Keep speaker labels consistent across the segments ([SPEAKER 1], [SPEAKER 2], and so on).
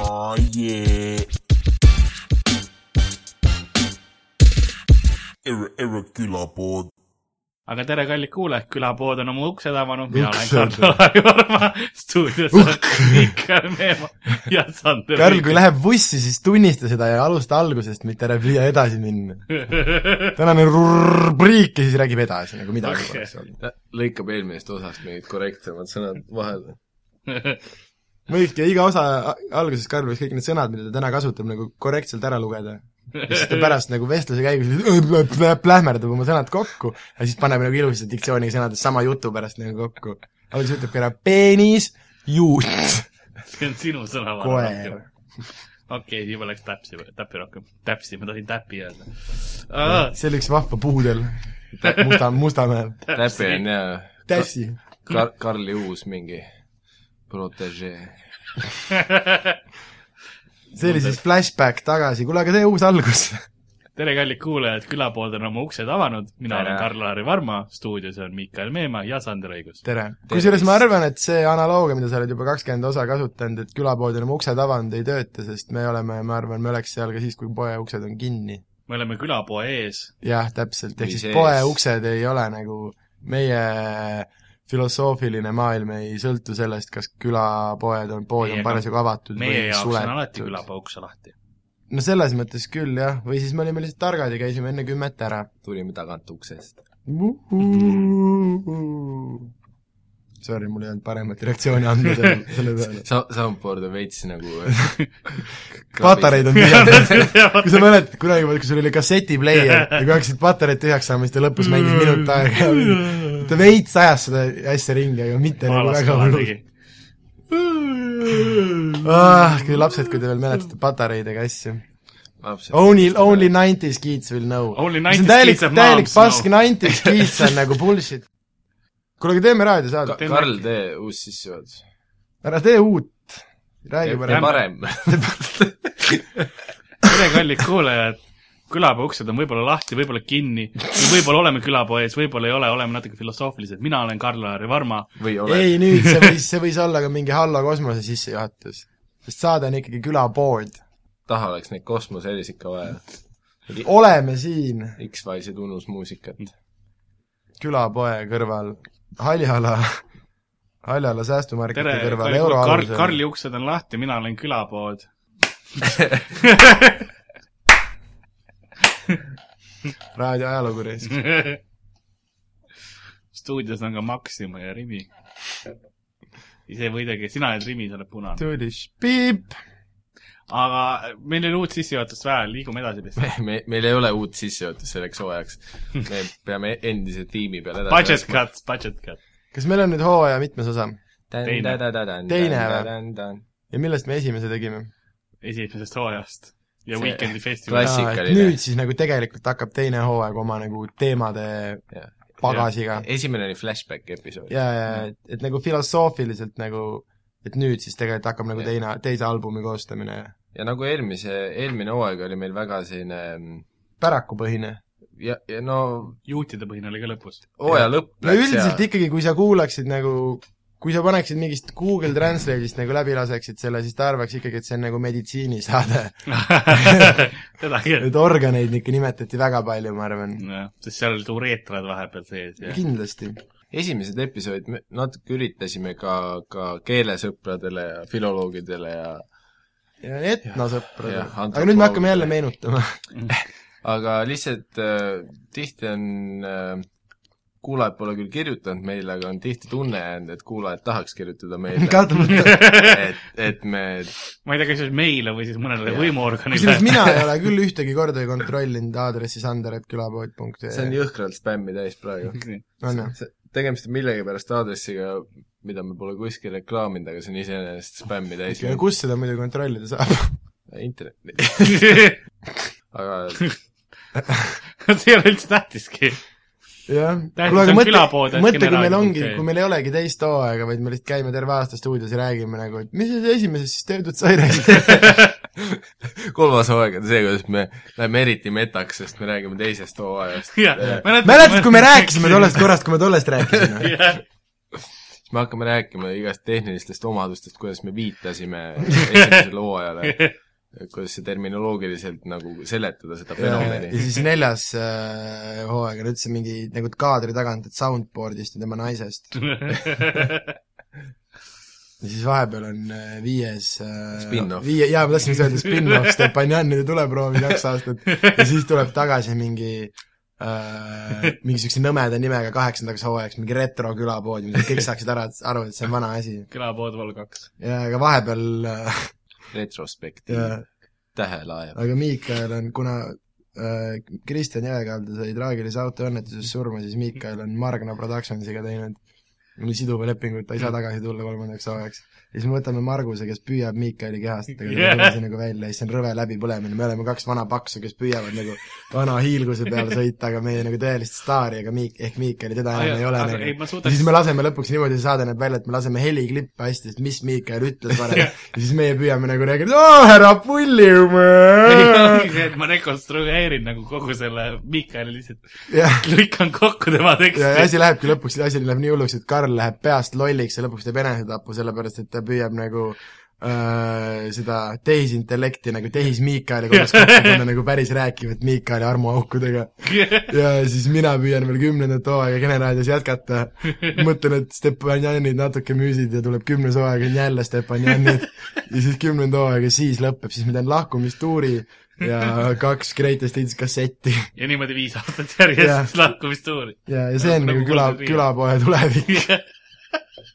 [SPEAKER 1] Oh yeah. Erre, Erre külapood .
[SPEAKER 2] aga tere , kallid kuulajad , külapood on oma uksed avanud , mina olen
[SPEAKER 3] Uksed.
[SPEAKER 2] Karl-Lari Varma , stuudios on Mihkel Meemaa ja Sander
[SPEAKER 3] Karl , kui läheb bussi , siis tunnista seda ja alusta algusest , mitte ära püüa edasi minna . tänane rubriik ja siis räägib edasi nagu midagi
[SPEAKER 2] Okei.
[SPEAKER 3] poleks olnud .
[SPEAKER 4] lõikab eelmisest osast mingid korrektsemad sõnad vahele .
[SPEAKER 3] võikski iga osa a- alguses , Karl , võiks kõik need sõnad , mida ta täna kasutab , nagu korrektselt ära lugeda . ja siis ta pärast nagu vestluse käigus plähmerdab oma sõnad kokku ja siis paneb nagu ilusasti diktsiooni sõnades sama jutu pärast nagu kokku . alguses ütlebki ära peenis , juut ,
[SPEAKER 2] see on sinu sõna .
[SPEAKER 3] koer .
[SPEAKER 2] okei , juba läks täpsi , täppi rohkem , täpsi , ma tohin täppi öelda .
[SPEAKER 3] see oli üks vahva puudel Musta , Mustamäel .
[SPEAKER 4] täpi on jaa
[SPEAKER 3] tässi .
[SPEAKER 4] Kar- , Karli uus mingi protegee .
[SPEAKER 3] see oli siis flashback tagasi , kuule aga tee uus algus .
[SPEAKER 2] tere , kallid kuulajad , külapood on oma uksed avanud , mina
[SPEAKER 4] Tere.
[SPEAKER 2] olen Karl-Lari Varma , stuudios on Mihkel Meemaa ja Sander Õigus .
[SPEAKER 3] tere . kusjuures ma arvan , et see analoogia , mida sa oled juba kakskümmend osa kasutanud , et külapood on oma uksed avanud , ei tööta , sest me oleme , ma arvan , me oleks seal ka siis , kui poe uksed on kinni .
[SPEAKER 2] me oleme külapoe ees ,
[SPEAKER 3] jah , täpselt , ehk
[SPEAKER 4] Või
[SPEAKER 3] siis
[SPEAKER 4] sees.
[SPEAKER 3] poe uksed ei ole nagu meie filosoofiline maailm ei sõltu sellest , kas külapoed on , pood on
[SPEAKER 2] Meiega-
[SPEAKER 3] parasjagu avatud
[SPEAKER 2] meie
[SPEAKER 3] või
[SPEAKER 2] jaoks on alati
[SPEAKER 3] suletud .
[SPEAKER 2] külapoe uks lahti .
[SPEAKER 3] no selles mõttes küll jah , või siis me olime lihtsalt targad ja käisime enne kümmet ära .
[SPEAKER 4] tulime tagant uksest .
[SPEAKER 3] Sorry , mul ei olnud paremat reaktsiooni anda selle , selle peale .
[SPEAKER 4] Sa- , soundboard on veits nagu
[SPEAKER 3] patareid on tühjad . kui sa mäletad , kunagi , kui sul oli kassetipleier ja kui hakkasid patareid tühjaks saama , siis ta lõpus mängis minut aega ja ta veits ajas seda asja ringi , aga mitte nagu väga hullult . ah , kui lapsed , kui te veel mäletate patareidega asju .
[SPEAKER 4] lapsed .
[SPEAKER 3] Only , only nineties kids will know .
[SPEAKER 2] Only 90s
[SPEAKER 3] see on täielik
[SPEAKER 2] Oh, kids have ,
[SPEAKER 3] täielik
[SPEAKER 2] moms
[SPEAKER 3] pask ,
[SPEAKER 2] know.
[SPEAKER 3] nineties kids on nagu bullshit . kuule , aga teeme raadiosaadet ,
[SPEAKER 2] teeme
[SPEAKER 4] Karl
[SPEAKER 2] äkki- ,
[SPEAKER 4] tee uus sissejuhatus .
[SPEAKER 3] ära tee uut , räägi
[SPEAKER 4] tee
[SPEAKER 3] parem .
[SPEAKER 4] parem .
[SPEAKER 2] tere , kallid kuulajad , külapoe uksed on võib-olla lahti , võib-olla kinni , võib-olla oleme külapoe ees , võib-olla ei ole , oleme natuke filosoofilised , mina olen Karl-Lari Varma ,
[SPEAKER 4] või
[SPEAKER 3] ei
[SPEAKER 4] ole .
[SPEAKER 3] nüüd , see võis , see võis olla ka mingi Hallo kosmose sissejuhatus . sest saade on ikkagi külapood .
[SPEAKER 4] taha oleks neid kosmoseelis ikka vaja .
[SPEAKER 3] oleme siin
[SPEAKER 4] X-Wise'i tunnusmuusikat .
[SPEAKER 2] Mm.
[SPEAKER 3] külapoe kõrval , Haljala , Haljala säästumarketi
[SPEAKER 2] tere ,
[SPEAKER 3] kõrval ,
[SPEAKER 2] Karl ,
[SPEAKER 3] euroalusel .
[SPEAKER 2] Karli uksed on lahti , mina olen külapood .
[SPEAKER 3] raadio ajalugu reis .
[SPEAKER 2] stuudios on ka Maxima ja Rimi . ise võidagi , sina oled Rimi , sa oled punane .
[SPEAKER 3] tuliš , piip .
[SPEAKER 2] aga meil ei ole uut sissejuhatust vaja , liigume edasi lihtsalt .
[SPEAKER 4] me , meil ei ole uut sissejuhatust selleks hooajaks . me peame endise tiimi peale edasi
[SPEAKER 2] Budget cut , budget cut .
[SPEAKER 3] kas meil on nüüd hooaja mitmes osa
[SPEAKER 2] Teine.
[SPEAKER 3] Teine või?
[SPEAKER 4] või ?
[SPEAKER 3] ja millest me esimese tegime ?
[SPEAKER 2] esimesest hooajast ja
[SPEAKER 4] See-
[SPEAKER 2] Weekend'i festival .
[SPEAKER 4] Klassikaline.
[SPEAKER 3] nüüd siis nagu tegelikult hakkab teine hooaeg oma nagu teemade
[SPEAKER 4] Jah.
[SPEAKER 3] pagasiga .
[SPEAKER 4] esimene oli flashback episood .
[SPEAKER 3] ja , ja , et , et nagu filosoofiliselt nagu , et nüüd siis tegelikult hakkab nagu
[SPEAKER 4] Jah.
[SPEAKER 3] teine , teise albumi koostamine
[SPEAKER 4] ja nagu eelmise , eelmine hooaeg oli meil väga selline mm,
[SPEAKER 3] pärakupõhine .
[SPEAKER 4] ja , ja no
[SPEAKER 2] juutide põhine oli ka lõpus .
[SPEAKER 4] hooaja lõpp
[SPEAKER 3] no üldiselt
[SPEAKER 4] ja
[SPEAKER 3] ikkagi , kui sa kuulaksid nagu , kui sa paneksid mingist Google Translate'ist nagu läbi laseksid selle , siis ta arvaks ikkagi , et see on nagu meditsiinisaade .
[SPEAKER 4] Ah,
[SPEAKER 2] seda küll .
[SPEAKER 3] et organeid ikka nimetati väga palju , ma arvan .
[SPEAKER 4] Mm,
[SPEAKER 2] jah , sest seal olid ureetrad vahepeal sees ja
[SPEAKER 3] kindlasti .
[SPEAKER 4] esimesed episoodid me natuke üritasime ka , ka keelesõpradele ja filoloogidele ja
[SPEAKER 3] ja etnosõprad
[SPEAKER 4] Jah, .
[SPEAKER 3] aga nüüd me hakkame jälle meenutama .
[SPEAKER 4] aga lihtsalt äh, tihti on äh, kuulajad pole küll kirjutanud meile , aga on tihti tunne jäänud , et kuulajad tahaks kirjutada meile ,
[SPEAKER 3] kahtlemata .
[SPEAKER 4] et , et me
[SPEAKER 2] ma ei tea , kas just meile või siis mõnele
[SPEAKER 4] Jah.
[SPEAKER 2] võimuorganile
[SPEAKER 3] kusjuures . mina ei ole küll ühtegi korda ei kontrollinud aadressi sanderetkülapood.ee .
[SPEAKER 4] see on jõhkralt spämmi täis praegu .
[SPEAKER 3] on ju ?
[SPEAKER 4] See- tegemist on millegipärast aadressiga , mida me pole kuskil reklaaminud , aga see on iseenesest spämmi täis .
[SPEAKER 3] kus seda muidu kontrollida saab ?
[SPEAKER 4] internet , aga
[SPEAKER 2] see ei ole üldse tähtiski .
[SPEAKER 3] jah .
[SPEAKER 2] Tähendab, see on külapood, et
[SPEAKER 3] mõtle , kui meil
[SPEAKER 2] generaalselt
[SPEAKER 3] ongi
[SPEAKER 2] käib. ,
[SPEAKER 3] kui meil ei olegi teist hooaega , vaid me lihtsalt käime terve aasta stuudios ja räägime nagu , et mis sa esimeses siis töötud sai , räägid .
[SPEAKER 4] kolmas hooaeg on see , kuidas me läheme eriti metaks , sest me räägime teisest hooajast .
[SPEAKER 2] mäletad
[SPEAKER 3] mäletad , kui me rääkisime tollest korrast , kui me tollest rääkisime ?
[SPEAKER 2] jah ,
[SPEAKER 4] siis me hakkame rääkima igast tehnilistest omadustest , kuidas me viitasime esimesele hooajale , kuidas see terminoloogiliselt nagu seletada seda
[SPEAKER 3] ja, ja
[SPEAKER 4] fenomeni .
[SPEAKER 3] siis neljas äh, hooaeg on üldse mingi nagu kaadri tagant , et soundboard'ist ja tema naisest . ja siis vahepeal on äh, viies äh,
[SPEAKER 4] Spin-off.
[SPEAKER 3] viie , jaa , ma tahtsin just öelda spin-off , Stepanjanile tuleb proovi kaks aastat ja siis tuleb tagasi mingi äh, mingi siukse nõmeda nimega kaheksandaks hooajaks , mingi retro külapood , mida kõik saaksid ära , aru , et see on vana asi .
[SPEAKER 2] külapood Vol kaks .
[SPEAKER 3] ja aga vahepeal äh,
[SPEAKER 4] retrospektiiv
[SPEAKER 3] ja ,
[SPEAKER 4] tähelaev .
[SPEAKER 3] aga Miikael on , kuna äh, Kristjan Jõekalda sai traagilises autoõnnetuses surma , siis Miikael on Margna Productionsiga teinud siduva lepingu , et ta ei saa tagasi tulla kolmandaks hooajaks . ja siis me võtame Marguse , kes püüab Miikaeli kehastada , aga yeah.
[SPEAKER 2] Yeah.
[SPEAKER 3] ta ei tule nagu välja ja siis on rõve läbipõlemine , me oleme kaks vana paksu , kes püüavad nagu vana hiilguse peale sõita , aga meie nagu tõelist staari , aga Miik- , ehk Miikaeli , teda enam ei ole
[SPEAKER 2] aga ei ,
[SPEAKER 3] nagu
[SPEAKER 2] ma
[SPEAKER 3] ja
[SPEAKER 2] suudaks
[SPEAKER 3] siis me laseme lõpuks niimoodi , see saade näeb välja , et me laseme heliklippe hästi , et mis Miikael ütles varem ja siis meie püüame nagu rääkida , ära pulli oma .
[SPEAKER 2] ei ongi see , et ma rekonstrueerin nagu kogu selle Miikaeli lihtsalt ,
[SPEAKER 3] ja ,
[SPEAKER 2] lõikan kokku tema
[SPEAKER 3] ja
[SPEAKER 2] teksti .
[SPEAKER 3] asi lähebki lõpuks , asi läheb nii hulluks , et Karl läheb peast lolliks ja lõpuks teeb enesetapu , sellepärast et ta püüab nagu öö, seda tehisintellekti nagu tehismiikaeli korras kokku panna nagu päris rääkivat Miikaeli armuaukudega . ja siis mina püüan veel kümnendat hooaega Kene raadios jätkata . mõtlen , et Stepanjanid natuke müüsid ja tuleb kümnes hooaeg on jälle Stepanjanid ja siis kümnenda hooaega siis lõpeb , siis ma teen lahkumistuuri ja kaks Greatest Hits kassetti
[SPEAKER 2] ja niimoodi viis aastat järjest
[SPEAKER 3] Jah.
[SPEAKER 2] lahkumistuuri .
[SPEAKER 3] ja , ja see on
[SPEAKER 2] Nagu
[SPEAKER 3] nagu küla ,
[SPEAKER 2] Golden Ring.
[SPEAKER 3] külapoe tulevik .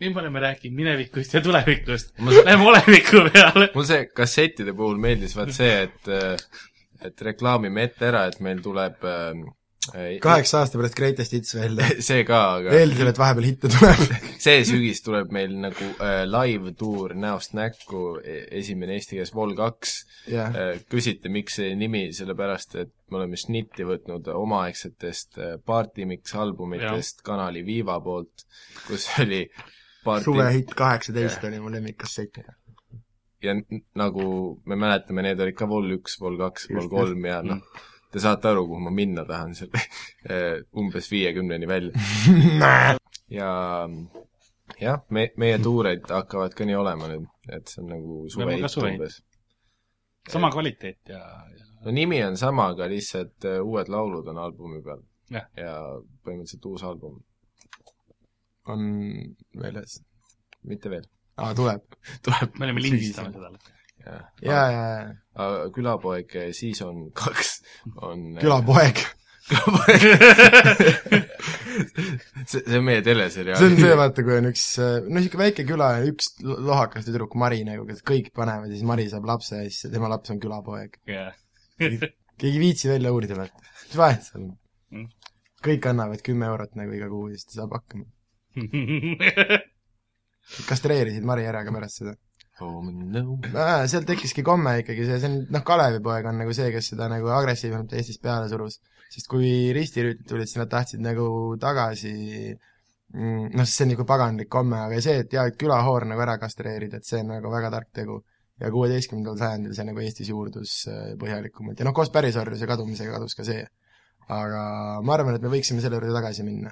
[SPEAKER 2] nii me oleme rääkinud minevikust ja tulevikust .
[SPEAKER 4] Ma saan-
[SPEAKER 2] Läheme oleviku peale .
[SPEAKER 4] mul see kassettide puhul meeldis vaat see , et , et reklaamime ette ära , et meil tuleb äh,
[SPEAKER 3] kaheksa aasta pärast Greatest Hits välja .
[SPEAKER 4] see ka , aga
[SPEAKER 3] eeldusel , et vahepeal hitte tuleb .
[SPEAKER 4] see sügis tuleb meil nagu äh, live-tuur Näost näkku , esimene eesti keeles Vol kaks
[SPEAKER 3] jah ,
[SPEAKER 4] äh, . küsiti , miks see nimi , sellepärast et me oleme šnitti võtnud omaaegsetest äh, Party Mix albumitest kanali Viiva poolt , kus oli Party
[SPEAKER 3] suvehitt kaheksateist oli mu lemmikkassett .
[SPEAKER 4] ja n- nagu me mäletame , need olid ka Vol üks , Vol kaks , Vol
[SPEAKER 3] Just,
[SPEAKER 4] kolm ja noh , te saate aru , kuhu ma minna tahan selle umbes viiekümneni välja . ja jah , me , meie tuureid hakkavad ka nii olema nüüd , et see on nagu
[SPEAKER 2] oleme ka
[SPEAKER 4] suvehitt
[SPEAKER 2] suvehitt.
[SPEAKER 4] umbes .
[SPEAKER 2] sama kvaliteet ja , ja
[SPEAKER 4] no nimi on sama , aga lihtsalt äh, uued laulud on albumi peal
[SPEAKER 2] Jah.
[SPEAKER 4] ja põhimõtteliselt uus album ,
[SPEAKER 3] on väljas .
[SPEAKER 4] mitte veel ,
[SPEAKER 3] aa , tuleb .
[SPEAKER 4] tuleb .
[SPEAKER 2] me oleme lindistanud seda .
[SPEAKER 3] ja , ja , ja ,
[SPEAKER 4] külapoeg eh, season kaks on eh,
[SPEAKER 3] külapoeg .
[SPEAKER 4] see , see on meie teleseriaal .
[SPEAKER 3] see on see , vaata , kui on üks , no niisugune väike küla ja üks lo- lohakas tüdruk Mari nagu , kes kõik panevad ja siis Mari saab lapse ja siis tema laps on külapoeg .
[SPEAKER 2] ja ,
[SPEAKER 3] keegi ei viitsi välja uurida , vaata . mis vahet seal on
[SPEAKER 2] Mm. ?
[SPEAKER 3] kõik annavad kümme eurot nagu iga kuu ja siis ta saab hakkama .
[SPEAKER 2] ja.
[SPEAKER 3] kastreerisid Mari ära ka pärast seda ?
[SPEAKER 4] oh, . No.
[SPEAKER 3] Aa, seal tekkiski komme ikkagi see , see on , noh , Kalevipoeg on nagu see , kes seda nagu agressiivsemalt Eestis peale surus . sest kui ristirüütid tulid , siis nad tahtsid nagu tagasi mm, noh , see on nagu paganlik komme , aga see , et jaa , et külahoor nagu ära kastreerida , et see on nagu väga tark tegu . ja kuueteistkümnendal sajandil see nagu Eestis juurdus äh, põhjalikumalt ja noh , koos pärisorjuse kadumisega kadus ka see . aga ma arvan , et me võiksime selle juurde tagasi minna .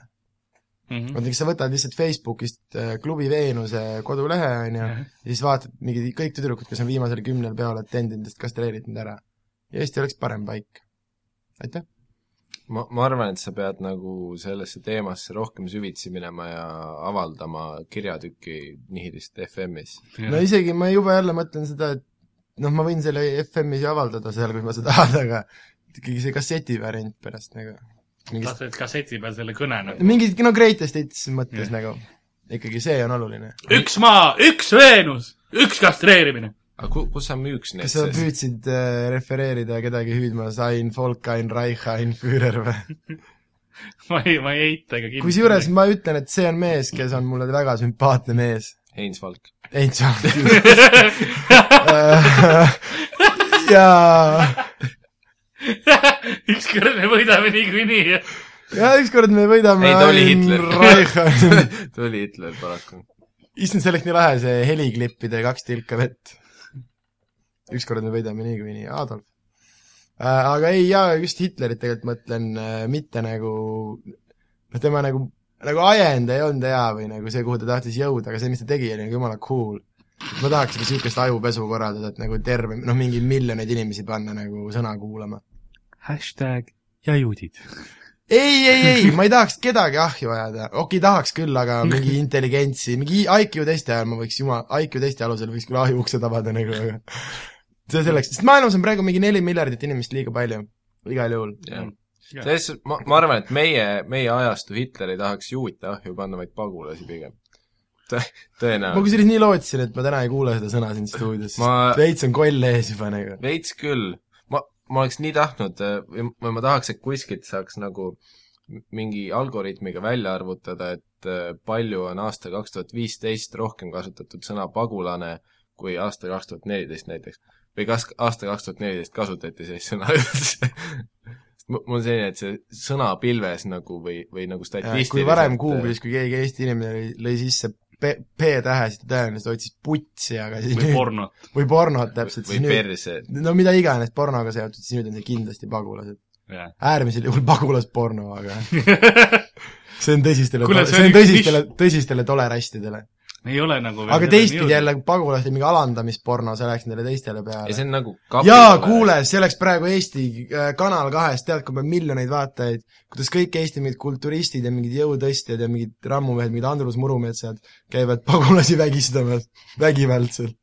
[SPEAKER 2] Mhm.
[SPEAKER 3] vaata , kas sa võtad lihtsalt Facebookist äh, klubi Veenuse kodulehe , on ju , ja siis vaatad mingid kõik tüdrukud , kes on viimasel kümnel peol attendentidest kastreeritud ära . ja Eesti oleks parem paik . aitäh .
[SPEAKER 4] ma , ma arvan , et sa pead nagu sellesse teemasse rohkem süvitsi minema ja avaldama kirjatüki Nihilist FM-is .
[SPEAKER 3] no isegi ma juba jälle mõtlen seda , et noh , ma võin selle FM-is ju avaldada seal , kui ma seda tahan , aga ikkagi see kasseti variant pärast nagu . mingist ,
[SPEAKER 2] tahtsid kasseti peal selle kõne nagu .
[SPEAKER 3] mingist , no greatest hits mõttes
[SPEAKER 2] Jah.
[SPEAKER 3] nagu . ikkagi see on oluline .
[SPEAKER 2] üks maa , üks Veenus , üks kastreerimine .
[SPEAKER 4] aga ku- , kus sa müüks neid
[SPEAKER 3] kas sa
[SPEAKER 4] siis ?
[SPEAKER 3] püüdsid äh, refereerida kedagi hüüdmas Ein Volk , Ein Reich , Ein Führer või ?
[SPEAKER 2] ma ei , ma ei eita ega .
[SPEAKER 3] kusjuures ma ütlen , et see on mees , kes on mulle väga sümpaatne mees .
[SPEAKER 4] Heinz Valk .
[SPEAKER 3] Ein Volk . Äh, ja ,
[SPEAKER 2] ükskord me võidame niikuinii .
[SPEAKER 3] ja ükskord me võidame
[SPEAKER 4] Ei, ta oli Hitler.
[SPEAKER 3] Reichani .
[SPEAKER 4] ta oli Hitler paraku .
[SPEAKER 3] issand , see oleks nii lahe , see heliklippide kaks tilka vett . ükskord me võidame niikuinii , Adolf . aga ei , jaa , just Hitlerit tegelikult mõtlen äh, mitte nagu , äh, noh tema nagu nagu ajend ei olnud hea või nagu see , kuhu ta tahtis jõuda , aga see , mis ta tegi , oli nagu jumala cool . ma tahaks ikka niisugust ajupesu korraldada , et nagu terve , noh , mingi miljoneid inimesi panna nagu sõna kuulama .
[SPEAKER 2] hashtag ja juudid .
[SPEAKER 3] ei , ei , ei , ma ei tahaks kedagi ahju ajada , okei , tahaks küll , aga mingi intelligentsi , mingi IQ testi ajal ma võiks jumal , IQ testi alusel võiks küll ahju ukse tabada nagu , aga see selleks , sest maailmas on praegu mingi neli miljardit inimest liiga palju , igal juhul .
[SPEAKER 4] jah . selles suhtes ma , ma arvan , et meie , meie ajastu Hitler ei tahaks juute ahju panna , vaid pagulasi pigem .
[SPEAKER 3] ma
[SPEAKER 4] tõenäoliselt .
[SPEAKER 3] kusjuures nii lootsin , et ma täna ei kuule seda sõna siin stuudios , sest
[SPEAKER 4] Ma-
[SPEAKER 3] veits on koll ees juba nagu .
[SPEAKER 4] veits küll . ma , ma oleks nii tahtnud äh, või või ma tahaks , et kuskilt saaks nagu mingi algoritmiga välja arvutada , et äh, palju on aasta kaks tuhat viisteist rohkem kasutatud sõna pagulane kui aasta kaks tuhat neliteist näiteks . või kas aasta kaks tuhat neliteist kasutati sellist sõna üldse ? mul on selline , et see sõnapilves nagu või , või nagu
[SPEAKER 3] kui
[SPEAKER 4] statistiliselt
[SPEAKER 3] varem Google'is , kui keegi Eesti inimene lõi, lõi sisse P , P-tähe , siis ta tõenäoliselt otsis putsi , aga siis
[SPEAKER 2] või pornot .
[SPEAKER 3] nüüd , või pornot täpselt ,
[SPEAKER 4] või
[SPEAKER 3] siis nüüd ,
[SPEAKER 4] perse ,
[SPEAKER 3] no mida iganes pornoga seotud , siis nüüd on see kindlasti pagulased .
[SPEAKER 2] jah .
[SPEAKER 3] äärmisel juhul pagulasporno , aga see on tõsistele ,
[SPEAKER 2] Kuule, see
[SPEAKER 3] see
[SPEAKER 2] on
[SPEAKER 3] on
[SPEAKER 2] üks
[SPEAKER 3] tõsistele , tõsistele tolerastidele .
[SPEAKER 2] ei ole nagu
[SPEAKER 3] aga teistpidi . jälle , pagulaste mingi alandamisporno , see läks nendele teistele
[SPEAKER 4] ja
[SPEAKER 3] peale
[SPEAKER 4] see . on nagu
[SPEAKER 3] jaa , kuule , see oleks praegu Eesti äh, Kanal kahes , tead , kui meil miljoneid vaatajaid , kuidas kõik Eesti mingid kulturistid ja mingid jõutõstjad ja mingid rammumehed , mingid Andrus Murumetsad käivad pagulasi vägistamas , vägivaldselt .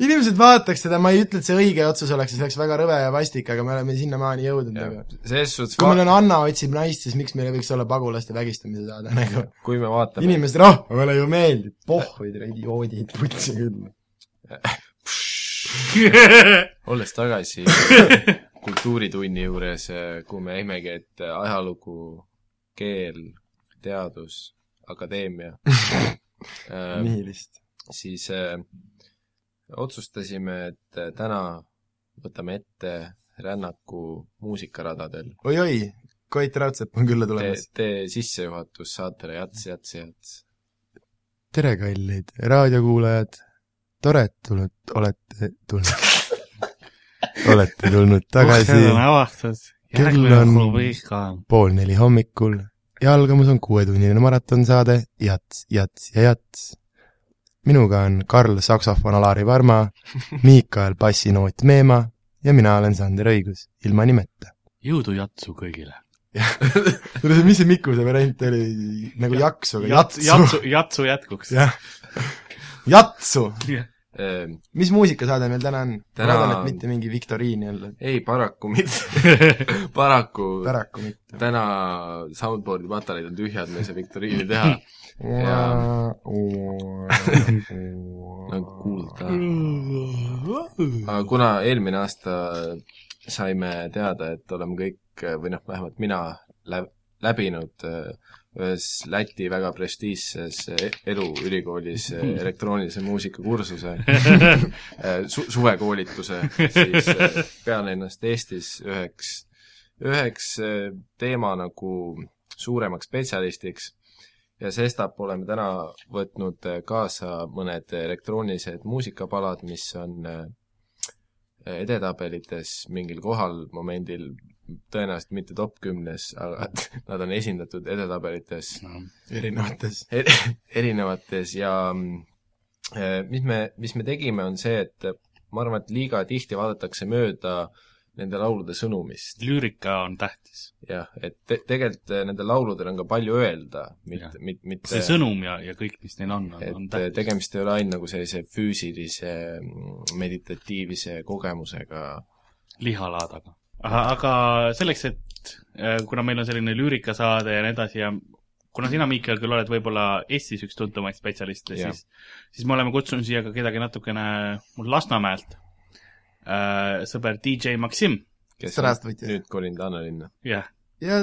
[SPEAKER 3] inimesed vaataks seda , ma ei ütle , et see õige otsus oleks , see oleks väga rõve ja vastik , aga me oleme sinnamaani jõudnud nagu .
[SPEAKER 4] selles suhtes
[SPEAKER 3] kui meil on Anna otsib naist , siis miks meil ei võiks olla pagulaste vägistamise saade nagu ?
[SPEAKER 4] kui me vaatame
[SPEAKER 3] inimesed , rahvale ju meeldib , pohhuid , idioodid , putsi küll .
[SPEAKER 4] olles tagasi kultuuritunni juures , kui me jäimegi , et eh, ajalugu , keel , teadus , akadeemia äh, ,
[SPEAKER 3] nihilist .
[SPEAKER 4] siis äh, otsustasime , et eh, täna võtame ette rännaku muusikaradadel .
[SPEAKER 3] oi-oi , Koit Raudsepp on külla
[SPEAKER 4] tee
[SPEAKER 3] tulemas .,
[SPEAKER 4] tee sissejuhatus saatele Jats , Jats , Jats .
[SPEAKER 3] tere , kallid raadiokuulajad , tore , et tulnud , olete tulnud , olete tulnud tagasi
[SPEAKER 2] on avatud .
[SPEAKER 3] Kell
[SPEAKER 2] järgmine
[SPEAKER 3] on-
[SPEAKER 2] klubikam .
[SPEAKER 3] pool neli hommikul ja algamas on kuuetunnine maratonsaade Jats , Jats ja Jats . minuga on Karl saksofon Alari Varma , Miikael bassinoot Meema ja mina olen Sander Õigus , ilma nimeta .
[SPEAKER 2] jõudu jatsu kõigile .
[SPEAKER 3] kuule , mis see Mikuse variant oli , nagu jaksu , aga
[SPEAKER 2] jatsu ,
[SPEAKER 3] jatsu ,
[SPEAKER 2] jatsu , jatsu jätkuks .
[SPEAKER 3] jah , jatsu
[SPEAKER 4] Äh,
[SPEAKER 3] mis muusikasaade meil täna on
[SPEAKER 4] Täna
[SPEAKER 3] täna... ? ma loodan ,
[SPEAKER 4] on-
[SPEAKER 3] et mitte mingi viktoriin jälle ,
[SPEAKER 4] ei , paraku mitte , paraku
[SPEAKER 3] paraku mitte .
[SPEAKER 4] täna soundboard'i patareid on tühjad , me ei saa viktoriini teha , Jaa. nagu kuulda . aga kuna eelmine aasta saime teada , et oleme kõik või noh , vähemalt mina läb- , läbinud äh, ühes Läti väga prestiižses e- eluülikoolis äh, elektroonilise muusika kursuse äh, su- , suvekoolituse , siis äh, pean ennast Eestis üheks , üheks äh, teema nagu suuremaks spetsialistiks ja sestap oleme täna võtnud äh, kaasa mõned elektroonilised muusikapalad , mis on äh, edetabelites mingil kohal momendil , tõenäoliselt mitte top kümnes , aga nad on esindatud edetabelites
[SPEAKER 3] erinevates .
[SPEAKER 4] er, erinevates ja mm, eh, mis me , mis me tegime , on see , et eh, ma arvan , et liiga tihti vaadatakse mööda nende laulude sõnumist .
[SPEAKER 2] lüürika on tähtis .
[SPEAKER 4] jah , et te tegelikult eh, nendel lauludel on ka palju öelda ,
[SPEAKER 2] Jah.
[SPEAKER 4] mitte , mitte , mitte
[SPEAKER 2] see sõnum ja , ja kõik , mis neil on , on
[SPEAKER 4] et eh,
[SPEAKER 2] tähtis .
[SPEAKER 4] tegemist ei ole ainult nagu sellise füüsilise mm, meditatiivse kogemusega .
[SPEAKER 2] lihalaadaga . aga selleks , et äh, kuna meil on selline lüürikasaade ja nii edasi ja kuna sina , Miikael , küll oled võib-olla Eestis üks tuntumaid spetsialiste ,
[SPEAKER 4] Jah.
[SPEAKER 2] siis , siis me oleme kutsunud siia ka kedagi natukene mul Lasnamäelt äh, , sõber DJ Maksim ,
[SPEAKER 4] kes on
[SPEAKER 3] Здравствуйте.
[SPEAKER 4] nüüd kolinud Annelinna ,
[SPEAKER 2] jah ,
[SPEAKER 3] ja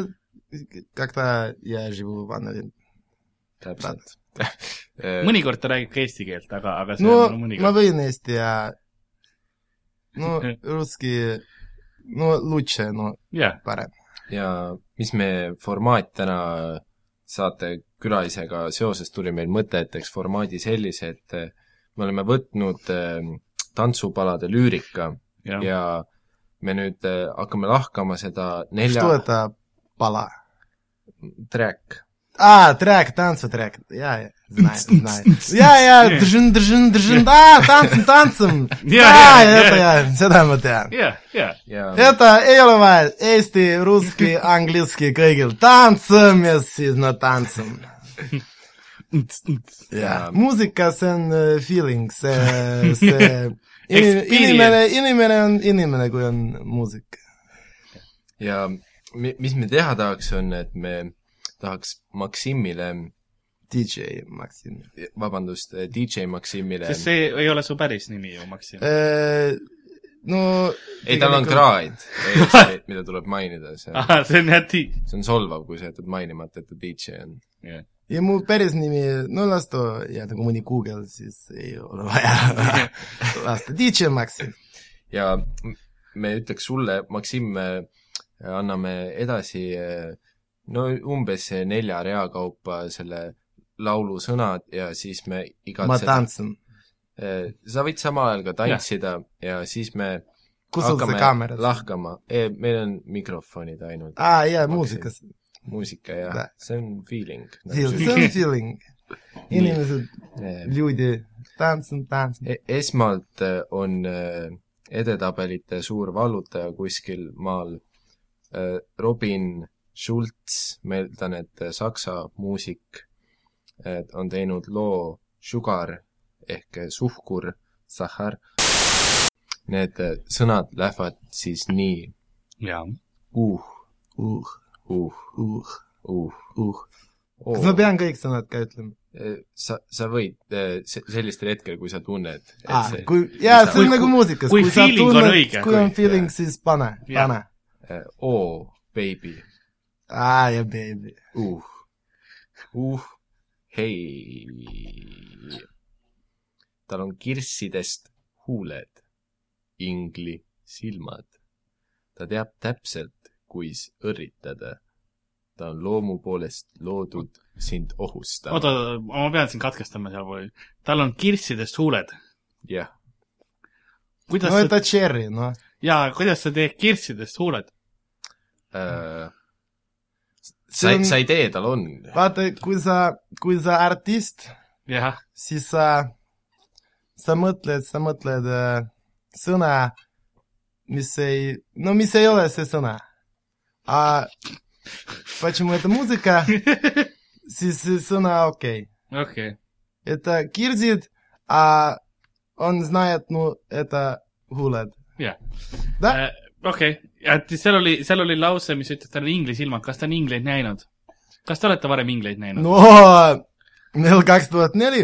[SPEAKER 3] когда я живу в Анналин .
[SPEAKER 4] täpselt . Eh,
[SPEAKER 2] mõnikord ta räägib ka eesti keelt , aga , aga see
[SPEAKER 3] no
[SPEAKER 2] on
[SPEAKER 3] ma
[SPEAKER 2] mõnikord .
[SPEAKER 3] võin eesti ja no russki , no лучше , no
[SPEAKER 2] jah ,
[SPEAKER 3] parem .
[SPEAKER 4] ja mis me formaat täna saatekülalisega seoses tuli meil mõte , et teeks formaadi sellise , et eh, me oleme võtnud eh, tantsupalade lüürika ja,
[SPEAKER 2] jah ,
[SPEAKER 4] ja me nüüd eh, hakkame lahkama seda
[SPEAKER 3] Что
[SPEAKER 4] nelja ,
[SPEAKER 3] это пала ?
[SPEAKER 4] track .
[SPEAKER 3] А, трек, танцетрек. Я я знаю, знаю. Я, я, držin , držin , držin , aa , tantsin , tantsin .
[SPEAKER 2] Jaa,
[SPEAKER 3] jaa ,
[SPEAKER 2] jaa,
[SPEAKER 3] jaa ,
[SPEAKER 2] jaa.
[SPEAKER 3] jaa , seda ma tean .
[SPEAKER 2] jaa , jaa .
[SPEAKER 4] ja
[SPEAKER 3] Это ei ole vaja , eesti , russki , angliski , kõigil tantsõm ja siis no tantsõm . jaa , muusika , see on äh, feeling , see , see inim- inimene , inimene on inimene , kui on muusika .
[SPEAKER 4] ja mi- mis me teha tahaks , on , et me tahaks Maksimile ,
[SPEAKER 3] DJ Maksim .
[SPEAKER 4] vabandust , eh, DJ Maksimile ,
[SPEAKER 2] sest see ei ole su päris nimi ju , Maksim .
[SPEAKER 3] Äh. Е, no
[SPEAKER 4] ei tal on . kraad , mida tuleb mainida , see ,
[SPEAKER 2] ahah , see on jah ti- .
[SPEAKER 4] see on solvav , kui sa jätad mainimata , et ta DJ on .
[SPEAKER 3] ja mu päris nimi , no las ta jääda , kui mõni Google , siis ei ole vaja lasta . DJ Maksim .
[SPEAKER 4] ja m- me ütleks sulle , Maksim , anname edasi eh, no umbes nelja rea kaupa selle laulu sõnad ja siis me
[SPEAKER 3] ma
[SPEAKER 4] igatseme ,
[SPEAKER 3] tantsin .
[SPEAKER 4] sa võid samal ajal ka tantsida ja, ja siis me
[SPEAKER 3] kus on see
[SPEAKER 4] hakkame
[SPEAKER 3] kaamera ? Ah.
[SPEAKER 4] lahkama , meil on mikrofonid ainult ,
[SPEAKER 3] aa , jaa , muusikas .
[SPEAKER 4] muusika ja
[SPEAKER 3] Da.
[SPEAKER 4] see on feeling .
[SPEAKER 3] see on feeling . inimesed ,
[SPEAKER 4] Eh,
[SPEAKER 3] люди , tantsin , tantsin .
[SPEAKER 4] E-, esmalt eh, on eh, edetabelite suur vallutaja kuskil maal eh, Robin Schulz , meeldan , et äh, saksa muusik eh, on teinud loo Sugar ehk suhkur , sahhar . Need eh, sõnad lähevad siis nii
[SPEAKER 2] jaa .
[SPEAKER 4] uh ,
[SPEAKER 3] uh ,
[SPEAKER 4] uh ,
[SPEAKER 3] uh ,
[SPEAKER 4] uh .
[SPEAKER 3] uh . kas ma pean kõik sõnad ka ütlema ?
[SPEAKER 4] Äh, sa , sa võid eh, se- sellistel hetkel , kui sa tunned ,
[SPEAKER 3] aa
[SPEAKER 4] et , see
[SPEAKER 3] Ah, kui , jaa ,
[SPEAKER 4] Kui-
[SPEAKER 3] see on nagu muusikas .
[SPEAKER 2] kui feeling on õige.
[SPEAKER 3] kui on
[SPEAKER 4] Kui-
[SPEAKER 3] feeling , siis pane ,
[SPEAKER 2] Jah.
[SPEAKER 3] pane .
[SPEAKER 4] eh, oo , baby
[SPEAKER 3] aa , ja baby .
[SPEAKER 4] Uh. Uh. Hei. Tal on kirssidest huuled, ingli silmad. Ta teab täpselt, kuis õrritada. Ta on loomu poolest loodud sind ohustama.
[SPEAKER 2] oota , ma pean sind katkestama sealpool . tal on kirssidest huuled .
[SPEAKER 4] Jah.
[SPEAKER 2] kuidas
[SPEAKER 3] no
[SPEAKER 2] no, ta...
[SPEAKER 3] ta cherry , noh .
[SPEAKER 2] jaa , kuidas sa teed kirssidest huuled ?
[SPEAKER 4] Äh,
[SPEAKER 3] See
[SPEAKER 4] sa,
[SPEAKER 3] on-
[SPEAKER 4] sa ei tee, tal on.
[SPEAKER 3] vaata , kui sa , kui sa artist ,
[SPEAKER 2] jah ,
[SPEAKER 3] siis sa , sa mõtled , sa mõtled äh, sõna , mis ei , no mis ei ole see sõna . aga почему это музыка , siis see sõna okei okay. .
[SPEAKER 2] okei .
[SPEAKER 3] Это кирдит , а он знает , no это гулет . Da-
[SPEAKER 2] Äh, okei , et seal oli , seal oli lause , mis ütles , et tal on inglisilmad , kas ta on ingleid näinud ? kas te olete varem ingleid näinud no. ?
[SPEAKER 3] no meil kaks tuhat neli ,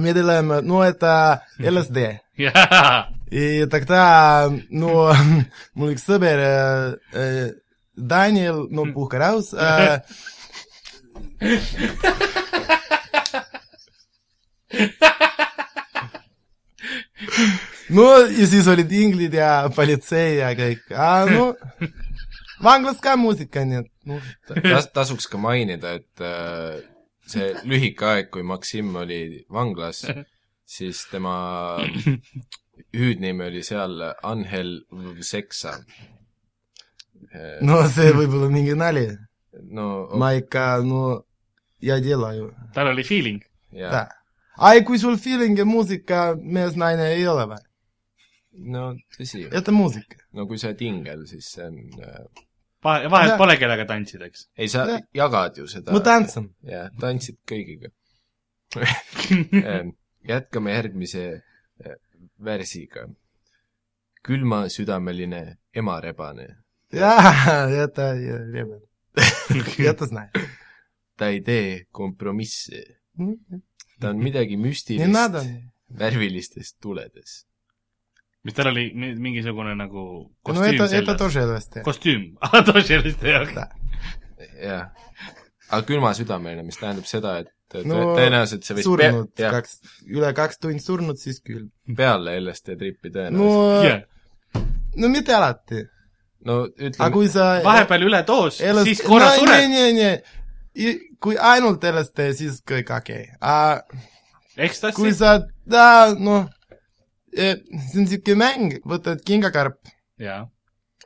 [SPEAKER 3] me tuleme , no это LSD
[SPEAKER 2] jaa ,
[SPEAKER 3] И тогда, ну, мой Сыбер, э, э, Даниил, ну, Пухараус, э, Ну, и siis olid inglid ja politsei ja kõik , aa no , vanglas ka muusika , nii et noh ,
[SPEAKER 4] Tas, tasuks ka mainida, et äh, see lühike aeg, kui Maksim oli vanglas, siis tema hüüdnimi oli seal Angel Seksa .
[SPEAKER 3] no see võib olla mingi nali ,
[SPEAKER 4] no oh,
[SPEAKER 3] ma ikka , no , ja ну, делаю ,
[SPEAKER 2] tal oli feeling .
[SPEAKER 4] jaa
[SPEAKER 3] da . ai , kui sul feeling э, ja muusika mees , naine ei ole või ?
[SPEAKER 4] no tõsi ,
[SPEAKER 3] Это музыка .
[SPEAKER 4] no kui sa oled ingel , siis see on äh, ,
[SPEAKER 2] vahe , vahet
[SPEAKER 3] Jah.
[SPEAKER 2] pole , kellega tantsid , eks .
[SPEAKER 4] ei sa
[SPEAKER 3] Jah.
[SPEAKER 4] jagad ju seda .
[SPEAKER 3] Мы танцем.
[SPEAKER 4] jah , tantsid kõigiga . jätkame järgmise äh, värsiga . külmasüdameline emarebane
[SPEAKER 3] Я, это, я, ребят, это знаю.
[SPEAKER 4] ta ei tee kompromisse ,
[SPEAKER 3] Ну,
[SPEAKER 4] ta on midagi
[SPEAKER 3] Не надо.
[SPEAKER 4] müstilist värvilistes tuledes .
[SPEAKER 2] mis tal oli mi- mingisugune nagu
[SPEAKER 3] Ну,
[SPEAKER 2] kostüüm
[SPEAKER 3] это,
[SPEAKER 2] no,
[SPEAKER 3] это
[SPEAKER 2] seljas .
[SPEAKER 3] тоже ЛСТ.
[SPEAKER 2] kostüüm , Ah, toželiste jaoks .
[SPEAKER 4] jah . aga külmasüdameline , mis tähendab seda , et tõ-
[SPEAKER 3] No,
[SPEAKER 4] tõenäoliselt see võis
[SPEAKER 3] Сурнут,
[SPEAKER 4] pe- jah,
[SPEAKER 3] как, üle kaks tundi surnud , siis küll .
[SPEAKER 4] peale LSD trippi tõenäoliselt .
[SPEAKER 3] no
[SPEAKER 2] jah ,
[SPEAKER 3] no mitte alati ,
[SPEAKER 4] no
[SPEAKER 3] aga
[SPEAKER 4] ütleme ,
[SPEAKER 3] kui sa
[SPEAKER 2] vahepeal üledoos ,
[SPEAKER 3] LSD
[SPEAKER 2] siis korra
[SPEAKER 3] no,
[SPEAKER 2] sured .
[SPEAKER 3] ei , ei , ei , kui ainult LSD , siis kõik okei okay. . aga kui
[SPEAKER 2] ekstassi ,
[SPEAKER 3] sa , ta , noh , see on niisugune mäng , võtad kingakarp
[SPEAKER 2] jaa .